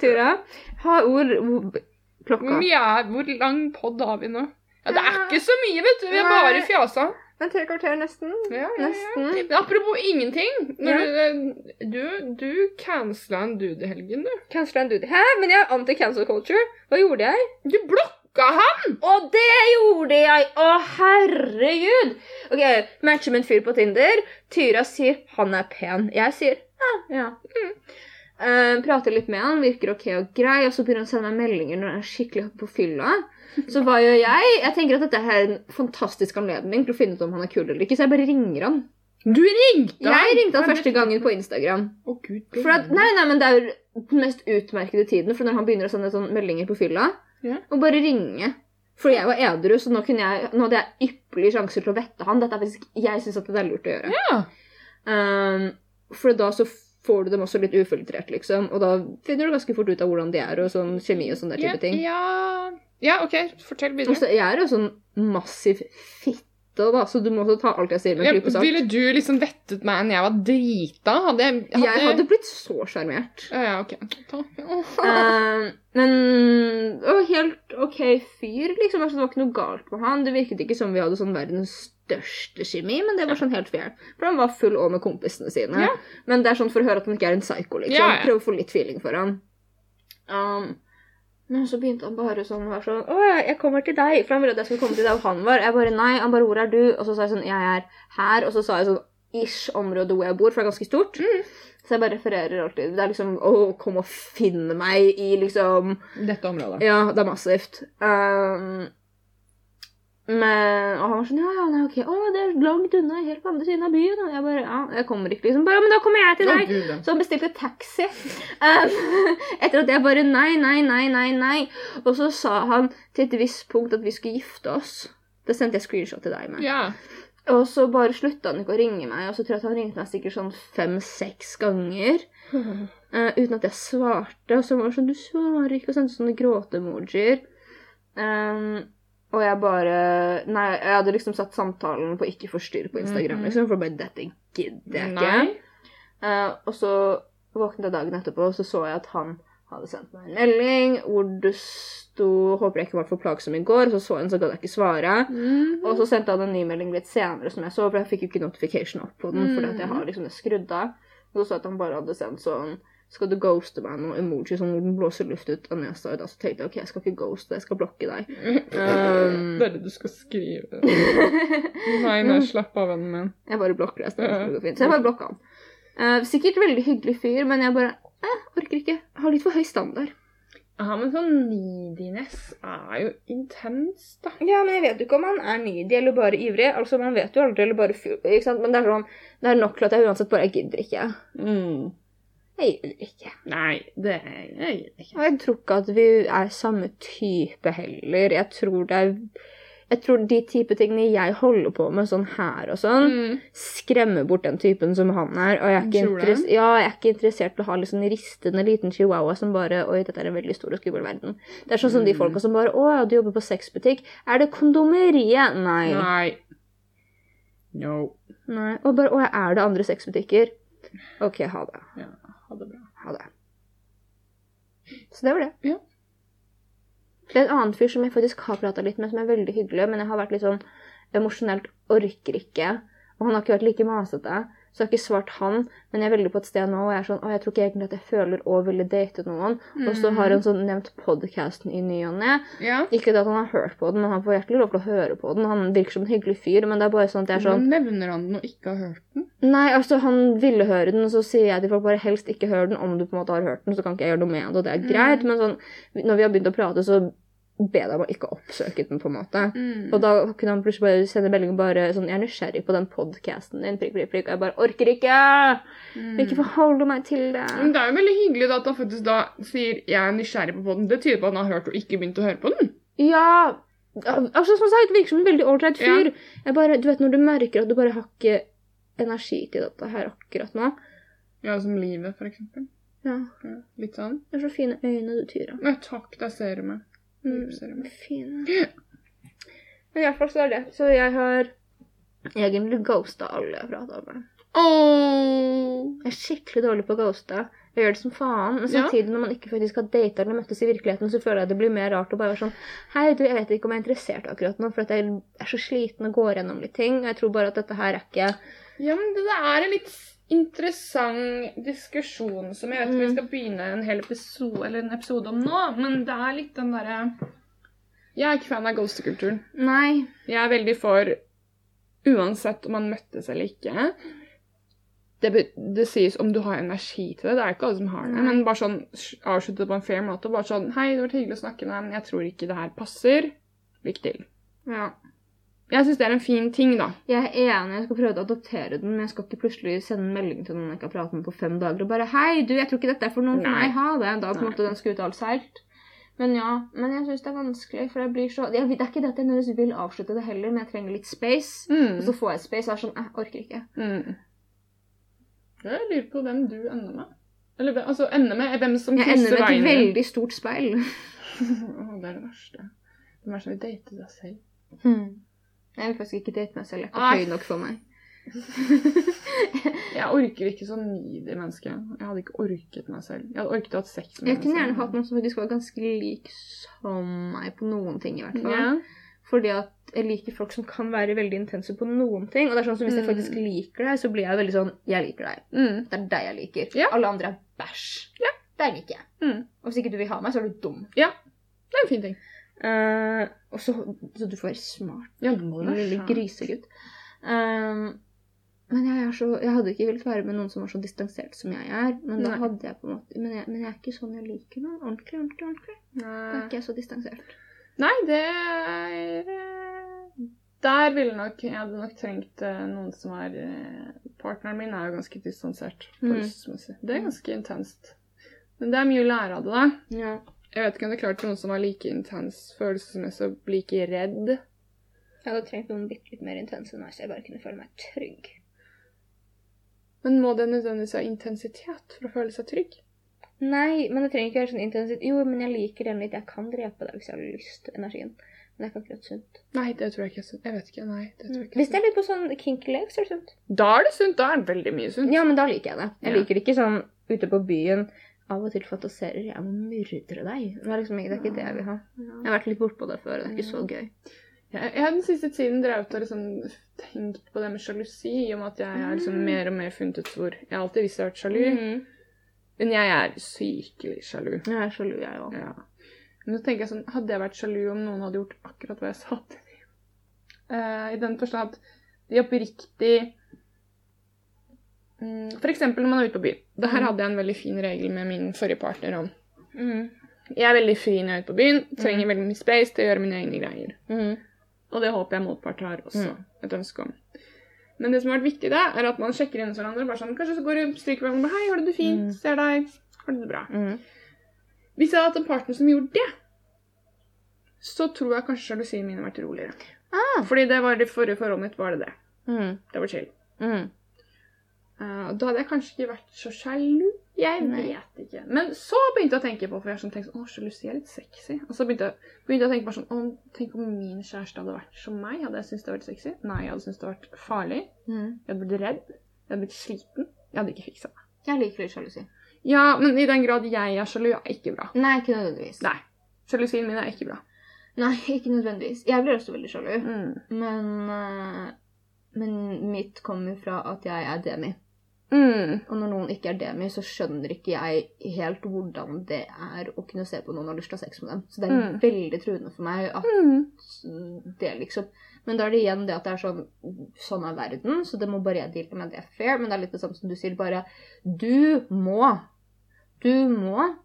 Speaker 1: Tura, ha ord ord-
Speaker 2: Hvor,
Speaker 1: Klokka.
Speaker 2: mye er, hvor lang podd har vi nå? Ja, Det er ikke så mye, vet du. Vi er
Speaker 1: Nei.
Speaker 2: bare fjasa.
Speaker 1: Det er tre kvarter nesten.
Speaker 2: Ja, ja, ja.
Speaker 1: Nesten.
Speaker 2: Men apropos ingenting. Når du, du, du cancela en dude i helgen, du.
Speaker 1: Cancela en dude. Hæ? Men jeg er anti-cancel culture. Hva gjorde jeg?
Speaker 2: Du blokka ham!
Speaker 1: Å, det gjorde jeg! Å, herregud! Ok, Matcher med en fyr på Tinder. Tyra sier 'han er pen'. Jeg sier 'ja'. ja. Mm. Eh, prater litt med han, virker ok og grei, og så begynner han å sende meg meldinger når han er skikkelig på fylla. Så hva gjør jeg? Jeg tenker at dette her er en fantastisk anledning til å finne ut om han er kul eller ikke, så jeg bare ringer han.
Speaker 2: Du ringte
Speaker 1: Jeg ringte han
Speaker 2: Hva er det Mm.
Speaker 1: første
Speaker 2: for-
Speaker 1: gangen på Instagram.
Speaker 2: Å, gud.
Speaker 1: For at, nei, nei, men det er jo den mest utmerkede tiden, for når han begynner å sende sånne meldinger på fylla,
Speaker 2: Ja.
Speaker 1: og bare ringe. For jeg var edru, så nå, kunne jeg, nå hadde jeg ypperlige sjanser til å vette han. Dette er faktisk, jeg syns det er lurt å gjøre.
Speaker 2: Ja.
Speaker 1: Ehm, for da så får du dem også litt ufiltrert, liksom. Og da finner du ganske fort ut av hvordan de er, og sånn kjemi og sånn der
Speaker 2: Ja,
Speaker 1: type ting.
Speaker 2: ja. ja, OK. Fortell
Speaker 1: Og
Speaker 2: videre.
Speaker 1: så jeg er jo sånn massiv fitte, da, så du må også ta alt jeg sier med
Speaker 2: Ja,
Speaker 1: en klype salt.
Speaker 2: ville du liksom vettet meg enn jeg var drita? Hadde jeg
Speaker 1: Jeg hadde blitt så sjarmert.
Speaker 2: Ja, ja, OK. Ta.
Speaker 1: Eh, men og helt OK fyr, liksom. Altså, det var ikke noe galt med han. Det virket ikke som vi hadde sånn verdens største kjemi, men det var sånn helt fair. For han var full òg med kompisene sine.
Speaker 2: Ja.
Speaker 1: Men det er sånn for å høre at han ikke er en psyko, liksom.
Speaker 2: Ja, ja.
Speaker 1: Prøve å få litt feeling for han. Um, Men så begynte han bare sånn og var sånn Å, jeg kommer til deg. For han ville at jeg skulle komme til der hvor han var. Jeg bare nei. Han bare Hvor er du? Og så sa jeg sånn Jeg er her. Og så sa jeg sånn ish område hvor jeg bor, for det er ganske stort. Så jeg bare refererer alltid. Det er liksom Å, kom og finn meg i liksom
Speaker 2: Dette området.
Speaker 1: Ja, det er massivt. Ehm, men Og han var sånn Ja, ja, nei, OK. Å, det er langt unna. Helt på andre siden av byen. Og jeg bare Ja, jeg kommer ikke, liksom. Bare, men da kommer jeg til
Speaker 2: Å,
Speaker 1: deg.
Speaker 2: Gud, ja.
Speaker 1: Så han bestilte taxi. Um, etter at jeg bare nei, nei, nei, nei, nei. Og så sa han til et visst punkt at vi skulle gifte oss. Det sendte jeg screenshot til deg med.
Speaker 2: ja.
Speaker 1: Og så bare slutta han ikke å ringe meg, og så tror jeg at han ringte meg sikkert sånn fem-seks ganger. eh, uten at jeg svarte. Og så var det sånn Du svarer ikke, og sendte sånne gråte-emojier. Um, og jeg bare Nei, jeg hadde liksom satt samtalen på ikke forstyrr på Instagram,
Speaker 2: Mhm.
Speaker 1: liksom, for bare dette gidder jeg ikke.
Speaker 2: Nei.
Speaker 1: Eh, og så våknet jeg dagen etterpå, og så så jeg at han hadde sendt meg en melding hvor det sto 'Håper jeg ikke var for plagsom i går', og så så jeg den, så gadd jeg ikke svare. Og så sendte han en ny melding litt senere, som jeg så, for jeg fikk jo ikke notification opp på den, fordi at jeg har liksom det skrudd av. Og så så jeg at han bare hadde sendt sånn 'Skal du ghoste meg nå?' emoji sånn hvor den blåser luft ut av nesa. Og da så tenkte jeg 'OK, jeg skal ikke ghoste, jeg skal blokke deg'. Um,
Speaker 2: det er det Mm. du skal skrive. Nei, nei, slapp av, vennen min.
Speaker 1: Jeg bare blokker deg. Så
Speaker 2: Ja.
Speaker 1: det går fint. Så jeg bare blokka han. Eh, sikkert veldig hyggelig fyr, men jeg bare eh, orker ikke. Har litt for høy standard.
Speaker 2: Ja, men sånn neediness er jo intens, da.
Speaker 1: Ja, men jeg vet jo ikke om han er needy eller bare ivrig. Altså, Man vet jo aldri, eller bare fjor, ikke sant? Men det er sånn, det er nok til at jeg uansett bare jeg gidder ikke. Mm. Jeg gidder ikke.
Speaker 2: Nei, det er jeg ikke.
Speaker 1: Og jeg tror ikke at vi er samme type heller. Jeg tror det er jeg tror de type tingene jeg holder på med, sånn her og sånn,
Speaker 2: Mm.
Speaker 1: skremmer bort den typen som han er. Og jeg er ikke,
Speaker 2: Tror du?
Speaker 1: interess ja, jeg er ikke interessert i å ha liksom ristende liten chihuahua som bare Oi, dette er en veldig stor og skummel verden. Det er sånn som de
Speaker 2: Mm.
Speaker 1: folka som bare Å ja, du jobber på sexbutikk. Er det kondomeriet? Nei. Nei.
Speaker 2: Nei. No.
Speaker 1: Og bare Å ja, er det andre sexbutikker? OK, ha det.
Speaker 2: Ha det bra.
Speaker 1: Ha det. Så det var det.
Speaker 2: Ja.
Speaker 1: Det er en annen fyr som jeg faktisk har prata litt med, som er veldig hyggelig, men jeg har vært litt sånn emosjonelt orker ikke. Og han har ikke vært like masete, så jeg har ikke svart han. Men jeg er veldig på et sted nå og jeg er sånn, å, jeg tror ikke egentlig at jeg føler å ville date noen. Og så har han sånn nevnt podcasten i ny og ne.
Speaker 2: Mm. Ja.
Speaker 1: Ikke det at han har hørt på den, men han får hjertelig lov til å høre på den. Han virker som en hyggelig fyr, men det er bare sånn at jeg er sånn
Speaker 2: Men nevner han den og ikke har hørt den?
Speaker 1: Nei, altså han ville høre den, og så sier jeg til folk bare helst ikke hør den. Om du på en måte har hørt den, så kan ikke jeg gjøre noe med det, og det er greit. Men sånn, når vi har begynt å prate, så be deg om å ikke oppsøke den, på en måte.
Speaker 2: Mm.
Speaker 1: Og da kunne han plutselig bare sende melding og bare sånn Jeg er nysgjerrig på den podkasten din, prikk, prikk, prikk. Og jeg bare orker ikke!
Speaker 2: Mm.
Speaker 1: Jeg vil ikke forholde meg til det.
Speaker 2: Men det er jo veldig hyggelig da, at han faktisk da sier 'jeg er nysgjerrig på podden'. Det tyder på at han har hørt og ikke begynt å høre på den.
Speaker 1: Ja Altså, som sagt, virker som en veldig ålreit fyr.
Speaker 2: Ja.
Speaker 1: Jeg bare, du vet når du merker at du bare har ikke energi til dette her akkurat nå.
Speaker 2: Ja, som livet, for eksempel.
Speaker 1: Ja.
Speaker 2: Ja, litt sånn.
Speaker 1: Det er så fine øyne du, Tyra.
Speaker 2: Nei, takk, der ser du meg.
Speaker 1: Mm.
Speaker 2: Ser du meg.
Speaker 1: Fine. Men i hvert fall så er det. Så jeg har egentlig ghosta alle jeg prata med.
Speaker 2: Åh!
Speaker 1: Jeg er skikkelig dårlig på å ghoste. Jeg gjør det som faen, men
Speaker 2: Ja.
Speaker 1: samtidig når man ikke faktisk har data eller møttes i virkeligheten, så føler jeg det blir mer rart å bare være sånn Hei, du, jeg vet ikke om jeg er interessert akkurat nå, for at jeg er så sliten og går gjennom litt ting. Og jeg tror bare at dette her er ikke
Speaker 2: Ja, men det der er en litt interessant diskusjon som jeg vet ikke om vi
Speaker 1: Mm.
Speaker 2: skal begynne en hel episode, eller en episode om nå, men det er litt den derre Jeg er ikke fan av ghostekulturen.
Speaker 1: Nei.
Speaker 2: Jeg er veldig for uansett om man møttes eller ikke. Det, be- det sies om du har energi til det. Det er ikke alle som har det.
Speaker 1: Nei.
Speaker 2: Men bare sånn s- avslutte det på en fair måte. Bare sånn Hei, det har vært hyggelig å snakke med deg, men jeg tror ikke det her passer. Lykke til.
Speaker 1: Ja.
Speaker 2: Jeg syns det er en fin ting, da.
Speaker 1: Jeg er enig, jeg skal prøve å adoptere den, men jeg skal ikke plutselig sende en melding til noen jeg ikke har pratet med på fem dager og bare 'Hei, du, jeg tror ikke dette er for noen for
Speaker 2: Nei.
Speaker 1: meg. Ha det.' Da på en
Speaker 2: Nei.
Speaker 1: måte den skal ut av alt seilt. Men ja, men jeg syns det er vanskelig, for jeg blir så jeg, vet- Det er ikke det at jeg nødvendigvis vil avslutte det heller, men jeg trenger litt space. Og så får jeg space, og jeg er sånn 'Jeg orker ikke'.
Speaker 2: Mm. Jeg lurer på hvem du ender med. Eller hvem- altså, ender med hvem som
Speaker 1: Jeg ender
Speaker 2: krysser
Speaker 1: med et
Speaker 2: veien. din.
Speaker 1: veldig stort speil.
Speaker 2: Åh, det er det verste. Hvem er det som vil date deg selv?
Speaker 1: Jeg vil faktisk ikke date meg selv. Jeg er
Speaker 2: Hmm. Nei.
Speaker 1: ikke høy nok for meg.
Speaker 2: Jeg orker ikke så nidig menneske. Jeg hadde ikke orket meg selv. Jeg hadde orket å ha sex med
Speaker 1: Jeg kunne gjerne hatt noen som faktisk var ganske lik som meg på noen ting, i hvert fall.
Speaker 2: Ja.
Speaker 1: Fordi at jeg liker folk som kan være veldig intense på noen ting. Og det er sånn som hvis jeg
Speaker 2: Mm.
Speaker 1: faktisk liker deg, så blir jeg veldig sånn Jeg liker deg.
Speaker 2: Mm.
Speaker 1: Det er deg jeg liker.
Speaker 2: Ja.
Speaker 1: Alle andre er bæsj. Det liker jeg.
Speaker 2: Mm.
Speaker 1: Og hvis ikke du vil ha meg, så er du dum.
Speaker 2: Ja. Det er en fin ting.
Speaker 1: Eh, og så, så du får være smart,
Speaker 2: Ja, det må
Speaker 1: du lille grisegutt. Eh, men jeg, er så, jeg hadde ikke villet være med noen som var så distansert som jeg er. Men da
Speaker 2: Nei.
Speaker 1: hadde jeg på en måte Men jeg, men jeg er ikke sånn jeg liker meg. Ordentlig, ordentlig, ordentlig. Da er
Speaker 2: Nei.
Speaker 1: ikke jeg så distansert.
Speaker 2: Nei, det er eh, Der ville nok Jeg hadde nok trengt eh, noen som er eh, Partneren min er jo ganske distansert
Speaker 1: Mm.
Speaker 2: følelsesmessig. Det er ganske intenst. Men det er mye å lære av det, da.
Speaker 1: Ja.
Speaker 2: Jeg vet ikke om det er klart noen som er like intens følelsesmessig og like redd.
Speaker 1: Jeg hadde trengt noen bitte litt mer intense enn meg, så jeg bare kunne føle meg trygg.
Speaker 2: Men må det nødvendigvis ha intensitet for å føle seg trygg?
Speaker 1: Nei, men det trenger ikke være sånn intensivt. Jo, men jeg liker den litt. Jeg kan drepe deg hvis jeg har lyst, energien. Men det er ikke akkurat sunt.
Speaker 2: Nei, det tror jeg ikke er sunt. Jeg vet ikke. Nei, det tror jeg ikke
Speaker 1: Hvis det er litt på sånn kinky lek, så er det sunt.
Speaker 2: Da er det sunt. Da er det veldig mye sunt.
Speaker 1: Mm. Ja, men da liker jeg det. Jeg
Speaker 2: Ja.
Speaker 1: liker ikke sånn ute på byen av og til fantasiserer jeg om å myrde deg. Det er liksom ikke det, er ikke det jeg vil ha. Jeg har vært litt bortpå det før, og det er ikke så gøy.
Speaker 2: Jeg, jeg har den siste tiden drevet og liksom tenkt på det med sjalusi, i og med at jeg er liksom mer og mer funnet ut hvor Jeg har alltid visst jeg har vært sjalu,
Speaker 1: Mhm.
Speaker 2: men jeg er sykelig sjalu.
Speaker 1: Jeg er sjalu, jeg òg.
Speaker 2: Ja. Men så tenker jeg sånn, hadde jeg vært sjalu om noen hadde gjort akkurat hva jeg sa til dem? Eh, I den forstand at de oppriktig mm, For eksempel når man er ute på byen. Det her
Speaker 1: Mm.
Speaker 2: hadde jeg en veldig fin regel med min forrige partner om.
Speaker 1: Mm.
Speaker 2: Jeg er veldig fri når jeg er ute på byen, trenger veldig mye space til å gjøre mine egne greier.
Speaker 1: Mm,
Speaker 2: Og det håper jeg motpart har også et ønske om. Men det som har vært viktig, da, er at man sjekker inn hos hverandre. bare sånn, Kanskje så går du stryker hverandre bare, 'Hei, har du det fint?
Speaker 1: Mm.
Speaker 2: Ser deg. Har du det bra?' Hvis jeg hadde hatt en partner som gjorde det, så tror jeg kanskje sjalusien min hadde vært roligere.
Speaker 1: Ah.
Speaker 2: Fordi det var det forrige forholdet mitt, var det det.
Speaker 1: mm,
Speaker 2: Det var chill. Eh, og da hadde jeg kanskje ikke vært så sjalu. Jeg
Speaker 1: Nei.
Speaker 2: vet ikke. Men så begynte jeg å tenke på for jeg har sånn tenkt sånn, å, sjalusi er litt sexy. Og så begynte jeg, begynte jeg å tenke på sånn, å, tenk om min kjæreste hadde vært som meg. Hadde jeg syntes det hadde vært sexy? Nei, jeg hadde syntes det hadde vært farlig.
Speaker 1: Mm.
Speaker 2: Jeg hadde blitt redd. Jeg hadde blitt sliten. Jeg hadde ikke fiksa det.
Speaker 1: Jeg liker litt sjalusi.
Speaker 2: Ja, men i den grad jeg er sjalu, er ikke bra.
Speaker 1: Nei, ikke nødvendigvis.
Speaker 2: Nei. Sjalusien min er ikke bra.
Speaker 1: Nei, ikke nødvendigvis. Jeg blir også veldig sjalu.
Speaker 2: Mm.
Speaker 1: Men, eh, men mitt kommer fra at jeg er demi.
Speaker 2: Mm.
Speaker 1: Og når noen ikke er demi, så skjønner ikke jeg helt hvordan det er å kunne se på noen og ha lyst til å ha sex med dem. Så det er
Speaker 2: Mm.
Speaker 1: veldig truende for meg at
Speaker 2: Mm.
Speaker 1: det liksom Men da er det igjen det at det er sånn Sånn er verden, så det må bare jeg deale med. Det er fair, men det er litt det samme som du sier, bare Du må Du må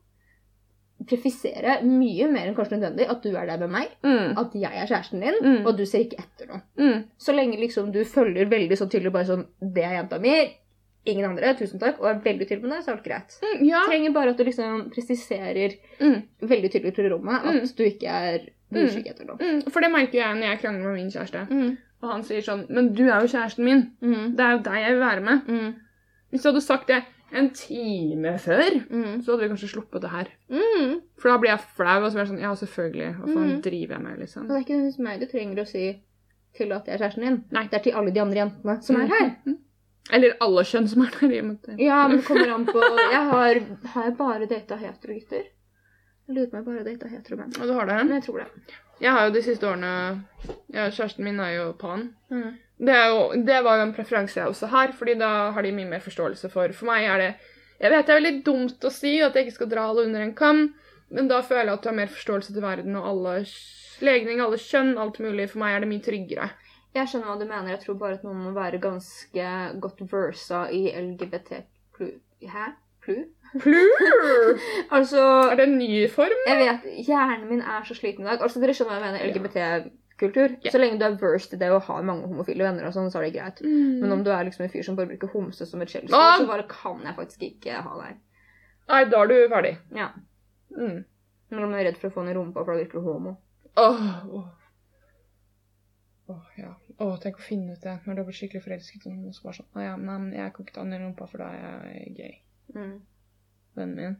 Speaker 1: prefisere mye mer enn kanskje nødvendig at du er der med meg,
Speaker 2: Mm.
Speaker 1: at jeg er kjæresten din,
Speaker 2: Mm.
Speaker 1: og du ser ikke etter noe.
Speaker 2: Mm.
Speaker 1: Så lenge liksom du følger veldig sånn tydelig bare sånn Det er jenta mi. Ingen andre. Tusen takk. Og er veldig tydelig med det, så er alt greit.
Speaker 2: Mm. Ja.
Speaker 1: Trenger bare at du liksom presiserer
Speaker 2: Mm.
Speaker 1: veldig tydelig til rommet at
Speaker 2: Mm.
Speaker 1: du ikke er du
Speaker 2: Mm.
Speaker 1: er ikke etter noe.
Speaker 2: Mm. For det merker jeg når jeg krangler med min kjæreste. Og han sier sånn Men du er jo kjæresten min.
Speaker 1: Mm.
Speaker 2: Det er jo deg jeg vil være med.
Speaker 1: Mm.
Speaker 2: Hvis du hadde sagt det en time før,
Speaker 1: Mm.
Speaker 2: så hadde vi kanskje sluppet det her.
Speaker 1: Mm.
Speaker 2: For da blir jeg flau. Og så blir jeg sånn Ja, selvfølgelig. Hva faen
Speaker 1: Mm.
Speaker 2: driver jeg med, liksom?
Speaker 1: Og det er ikke nødvendigvis meg du trenger å si til at jeg er kjæresten din.
Speaker 2: Nei.
Speaker 1: Det er til alle de andre jentene som er her.
Speaker 2: Mm. Eller alle kjønn som er der. i og med at-
Speaker 1: Ja, men det kommer an på Jeg har, har jeg bare data hetero gutter. Jeg lurer på om jeg bare data hetero menn.
Speaker 2: Og du har
Speaker 1: Men
Speaker 2: det.
Speaker 1: jeg tror det.
Speaker 2: Jeg har jo de siste årene ja, Kjæresten min er jo pan. Det, er jo, det var jo en preferanse jeg også har, fordi da har de mye mer forståelse for For meg er det Jeg vet det er veldig dumt å si at jeg ikke skal dra alle under en kam, men da føler jeg at du har mer forståelse til verden og alle s- legning, alle kjønn, alt mulig. For meg er det mye tryggere.
Speaker 1: Jeg skjønner hva du mener. Jeg tror bare at man må være ganske godt versa i LGBT plu... Hæ? Plu?
Speaker 2: Plur!
Speaker 1: Altså
Speaker 2: Er det en ny form?
Speaker 1: Jeg vet Hjernen min er så sliten i dag. Altså, Dere skjønner hva jeg mener? LGBT-kultur.
Speaker 2: Ja.
Speaker 1: Så lenge du er versed i det å ha mange homofile venner, og sånn, så er det greit. Men om du er liksom en fyr som bare bruker homse som et skjellsord,
Speaker 2: Ah!
Speaker 1: så bare kan jeg faktisk ikke ha deg.
Speaker 2: Nei, da er du ferdig.
Speaker 1: Ja.
Speaker 2: Mm.
Speaker 1: Når man er redd for å få den i rumpa, for da virker du homo.
Speaker 2: Åh, åh. Åh, ja. Åh, tenk å finne ut det når du blir skikkelig forelsket. Og noen som bare sånn Å ja, men jeg kan ikke ta den i rumpa, for da er jeg gay.
Speaker 1: Mm.
Speaker 2: Vennen min.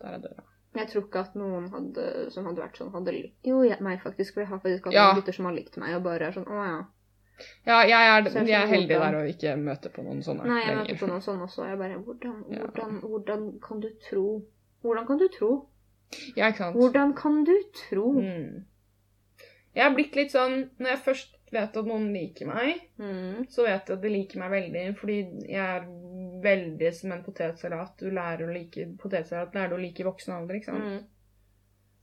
Speaker 2: Der er døra.
Speaker 1: Jeg tror ikke at noen hadde, som hadde vært sånn, hadde likt Jo, jeg, meg faktisk. For jeg har faktisk hatt
Speaker 2: Ja.
Speaker 1: noen gutter som har likt meg, og bare er sånn Å ja.
Speaker 2: Ja,
Speaker 1: Så
Speaker 2: jeg er,
Speaker 1: jeg
Speaker 2: jeg er
Speaker 1: skjønner
Speaker 2: heldig
Speaker 1: hvordan-
Speaker 2: der å ikke møte på noen sånne
Speaker 1: Nei, jeg
Speaker 2: lenger.
Speaker 1: møter på noen sånne også. og Jeg bare hvordan,
Speaker 2: Ja.
Speaker 1: hvordan, hvordan kan du tro Hvordan kan du tro?
Speaker 2: Ja, ikke sant?
Speaker 1: Hvordan kan du tro?
Speaker 2: Sånn. Mm. Jeg har blitt litt sånn Når jeg først vet at noen liker meg,
Speaker 1: Mm.
Speaker 2: så vet jeg at de liker meg veldig, fordi jeg er veldig Sånn. som en potetsalat. Du lærer å like potetsalat, lærer du å like i voksen alder, ikke sant?
Speaker 1: Mm.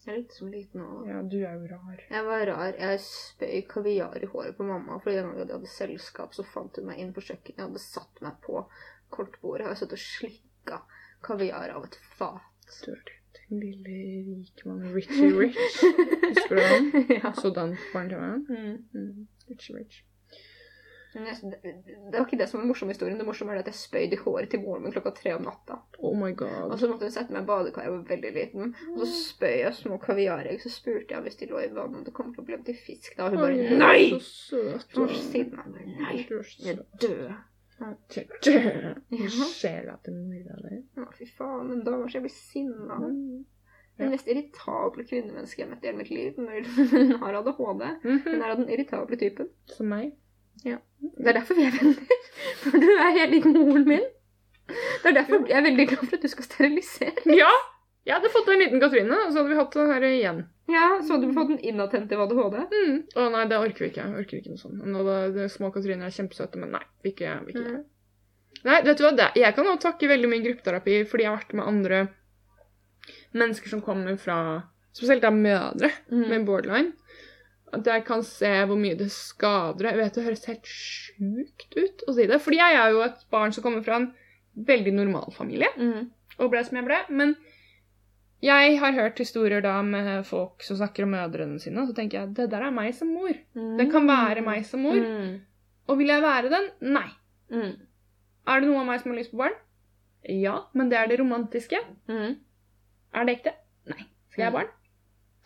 Speaker 1: Jeg likte som liten og
Speaker 2: Ja, du er jo rar.
Speaker 1: Jeg var rar. Jeg spøy kaviar i håret på mamma, for den gangen jeg hadde selskap, så fant hun meg inn på kjøkkenet. Jeg hadde satt meg på kortbordet og jeg satt og slikka kaviar av et fat.
Speaker 2: Den lille rikmannen Richie Rich. Husker du han?
Speaker 1: ja.
Speaker 2: Sådan barn til meg.
Speaker 1: Mm.
Speaker 2: Mm. Richie Rich.
Speaker 1: Men jeg, det, det var ikke det som var den morsomme historien. Det morsomme er at jeg spøyde i håret til moren min klokka tre om natta.
Speaker 2: Oh my
Speaker 1: Og
Speaker 2: god.
Speaker 1: så måtte hun sette meg i badekar, jeg var veldig liten. Og så spøy jeg små kaviaregg, så spurte jeg hvis de lå i vann om det kom til å bli om til fisk. Da Og hun
Speaker 2: Oi,
Speaker 1: bare Nei!
Speaker 2: Så søt.
Speaker 1: Hun var så sint. Jeg bare Nei,
Speaker 2: Du er så
Speaker 1: jeg
Speaker 2: søt.
Speaker 1: dør.
Speaker 2: Ja.
Speaker 1: Ja.
Speaker 2: Sjela til mora di.
Speaker 1: Å, fy faen, men da var jeg ble sinna.
Speaker 2: Mm.
Speaker 1: Den mest irritable kvinnemennesket jeg har møtt i hele mitt liv. Men hun har ADHD. Hun er av den irritable typen.
Speaker 2: Mhm. Som meg.
Speaker 1: Det er derfor vi er venner. For du er helt lik moren min. Det er derfor jeg er veldig glad for at du skal sterilisere.
Speaker 2: Ja! Jeg hadde fått en liten Katrine, og så hadde vi hatt det her igjen.
Speaker 1: Ja, Så hadde du fått en inattentiv ADHD.
Speaker 2: Mm. Å nei, det orker vi ikke. Jeg orker ikke noe sånt. Nå, det, det små Katrine er kjempesøte, men nei. Vi ikke, vi ikke.
Speaker 1: Mm.
Speaker 2: Nei, vet du hva? Det, jeg kan også takke veldig mye gruppeterapi fordi jeg har vært med andre mennesker som kommer fra Spesielt da mødre
Speaker 1: Mm.
Speaker 2: med borderline. At jeg kan se hvor mye det skader deg. Jeg vet det høres helt sjukt ut å si det. Fordi jeg er jo et barn som kommer fra en veldig normal familie
Speaker 1: Mm.
Speaker 2: og ble som jeg ble. Men jeg har hørt historier da med folk som snakker om mødrene sine, og så tenker jeg det der er meg som mor. Det kan være meg som mor.
Speaker 1: Mm.
Speaker 2: Og vil jeg være den? Nei.
Speaker 1: Mm.
Speaker 2: Er det noe av meg som har lyst på barn? Ja, men det er det romantiske.
Speaker 1: Mm.
Speaker 2: Er det ekte? Nei. Skal jeg ha barn?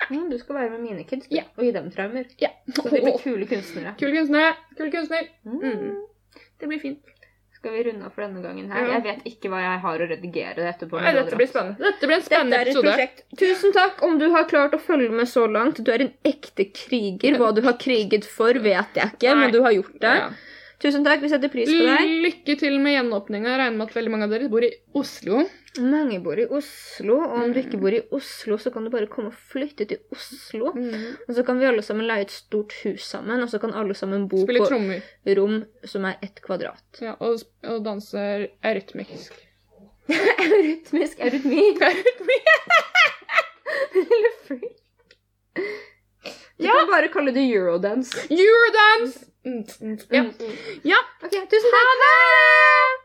Speaker 1: Mm, Du skal være med mine kids du,
Speaker 2: Ja.
Speaker 1: og gi dem traumer.
Speaker 2: Ja.
Speaker 1: Så de blir kule kunstnere.
Speaker 2: Kul kunstner. Kul kunstner.
Speaker 1: Mm.
Speaker 2: Mm. Det blir fint.
Speaker 1: Skal vi runde av for denne gangen her?
Speaker 2: Ja.
Speaker 1: Jeg vet ikke hva jeg har å redigere etterpå.
Speaker 2: Nei, dette blir spennende. Dette blir en
Speaker 1: Dette
Speaker 2: spennende
Speaker 1: er et
Speaker 2: episode.
Speaker 1: prosjekt. Tusen takk om du har klart å følge med så langt. Du er en ekte kriger. Hva du har kriget for, vet jeg ikke,
Speaker 2: Nei.
Speaker 1: men du har gjort det.
Speaker 2: Ja. Mm.
Speaker 1: Tusen takk. Vi setter pris på deg.
Speaker 2: Lykke til med gjenåpninga. Jeg regner med at veldig mange av dere bor i Oslo.
Speaker 1: Mange bor i Oslo, og om du ikke bor i Oslo, så kan du bare komme og flytte til Oslo. Og så kan vi alle sammen leie et stort hus sammen, og så kan alle sammen bo
Speaker 2: Spiller
Speaker 1: på
Speaker 2: trommer.
Speaker 1: rom som er ett kvadrat.
Speaker 2: Ja, og, og danser rytmisk.
Speaker 1: Rytmisk eurytmi. Lille freak. Du kan bare kalle det eurodance.
Speaker 2: Eurodance! Mm, mm, Ja.
Speaker 1: Mm. Ok, tusen takk. Ha det!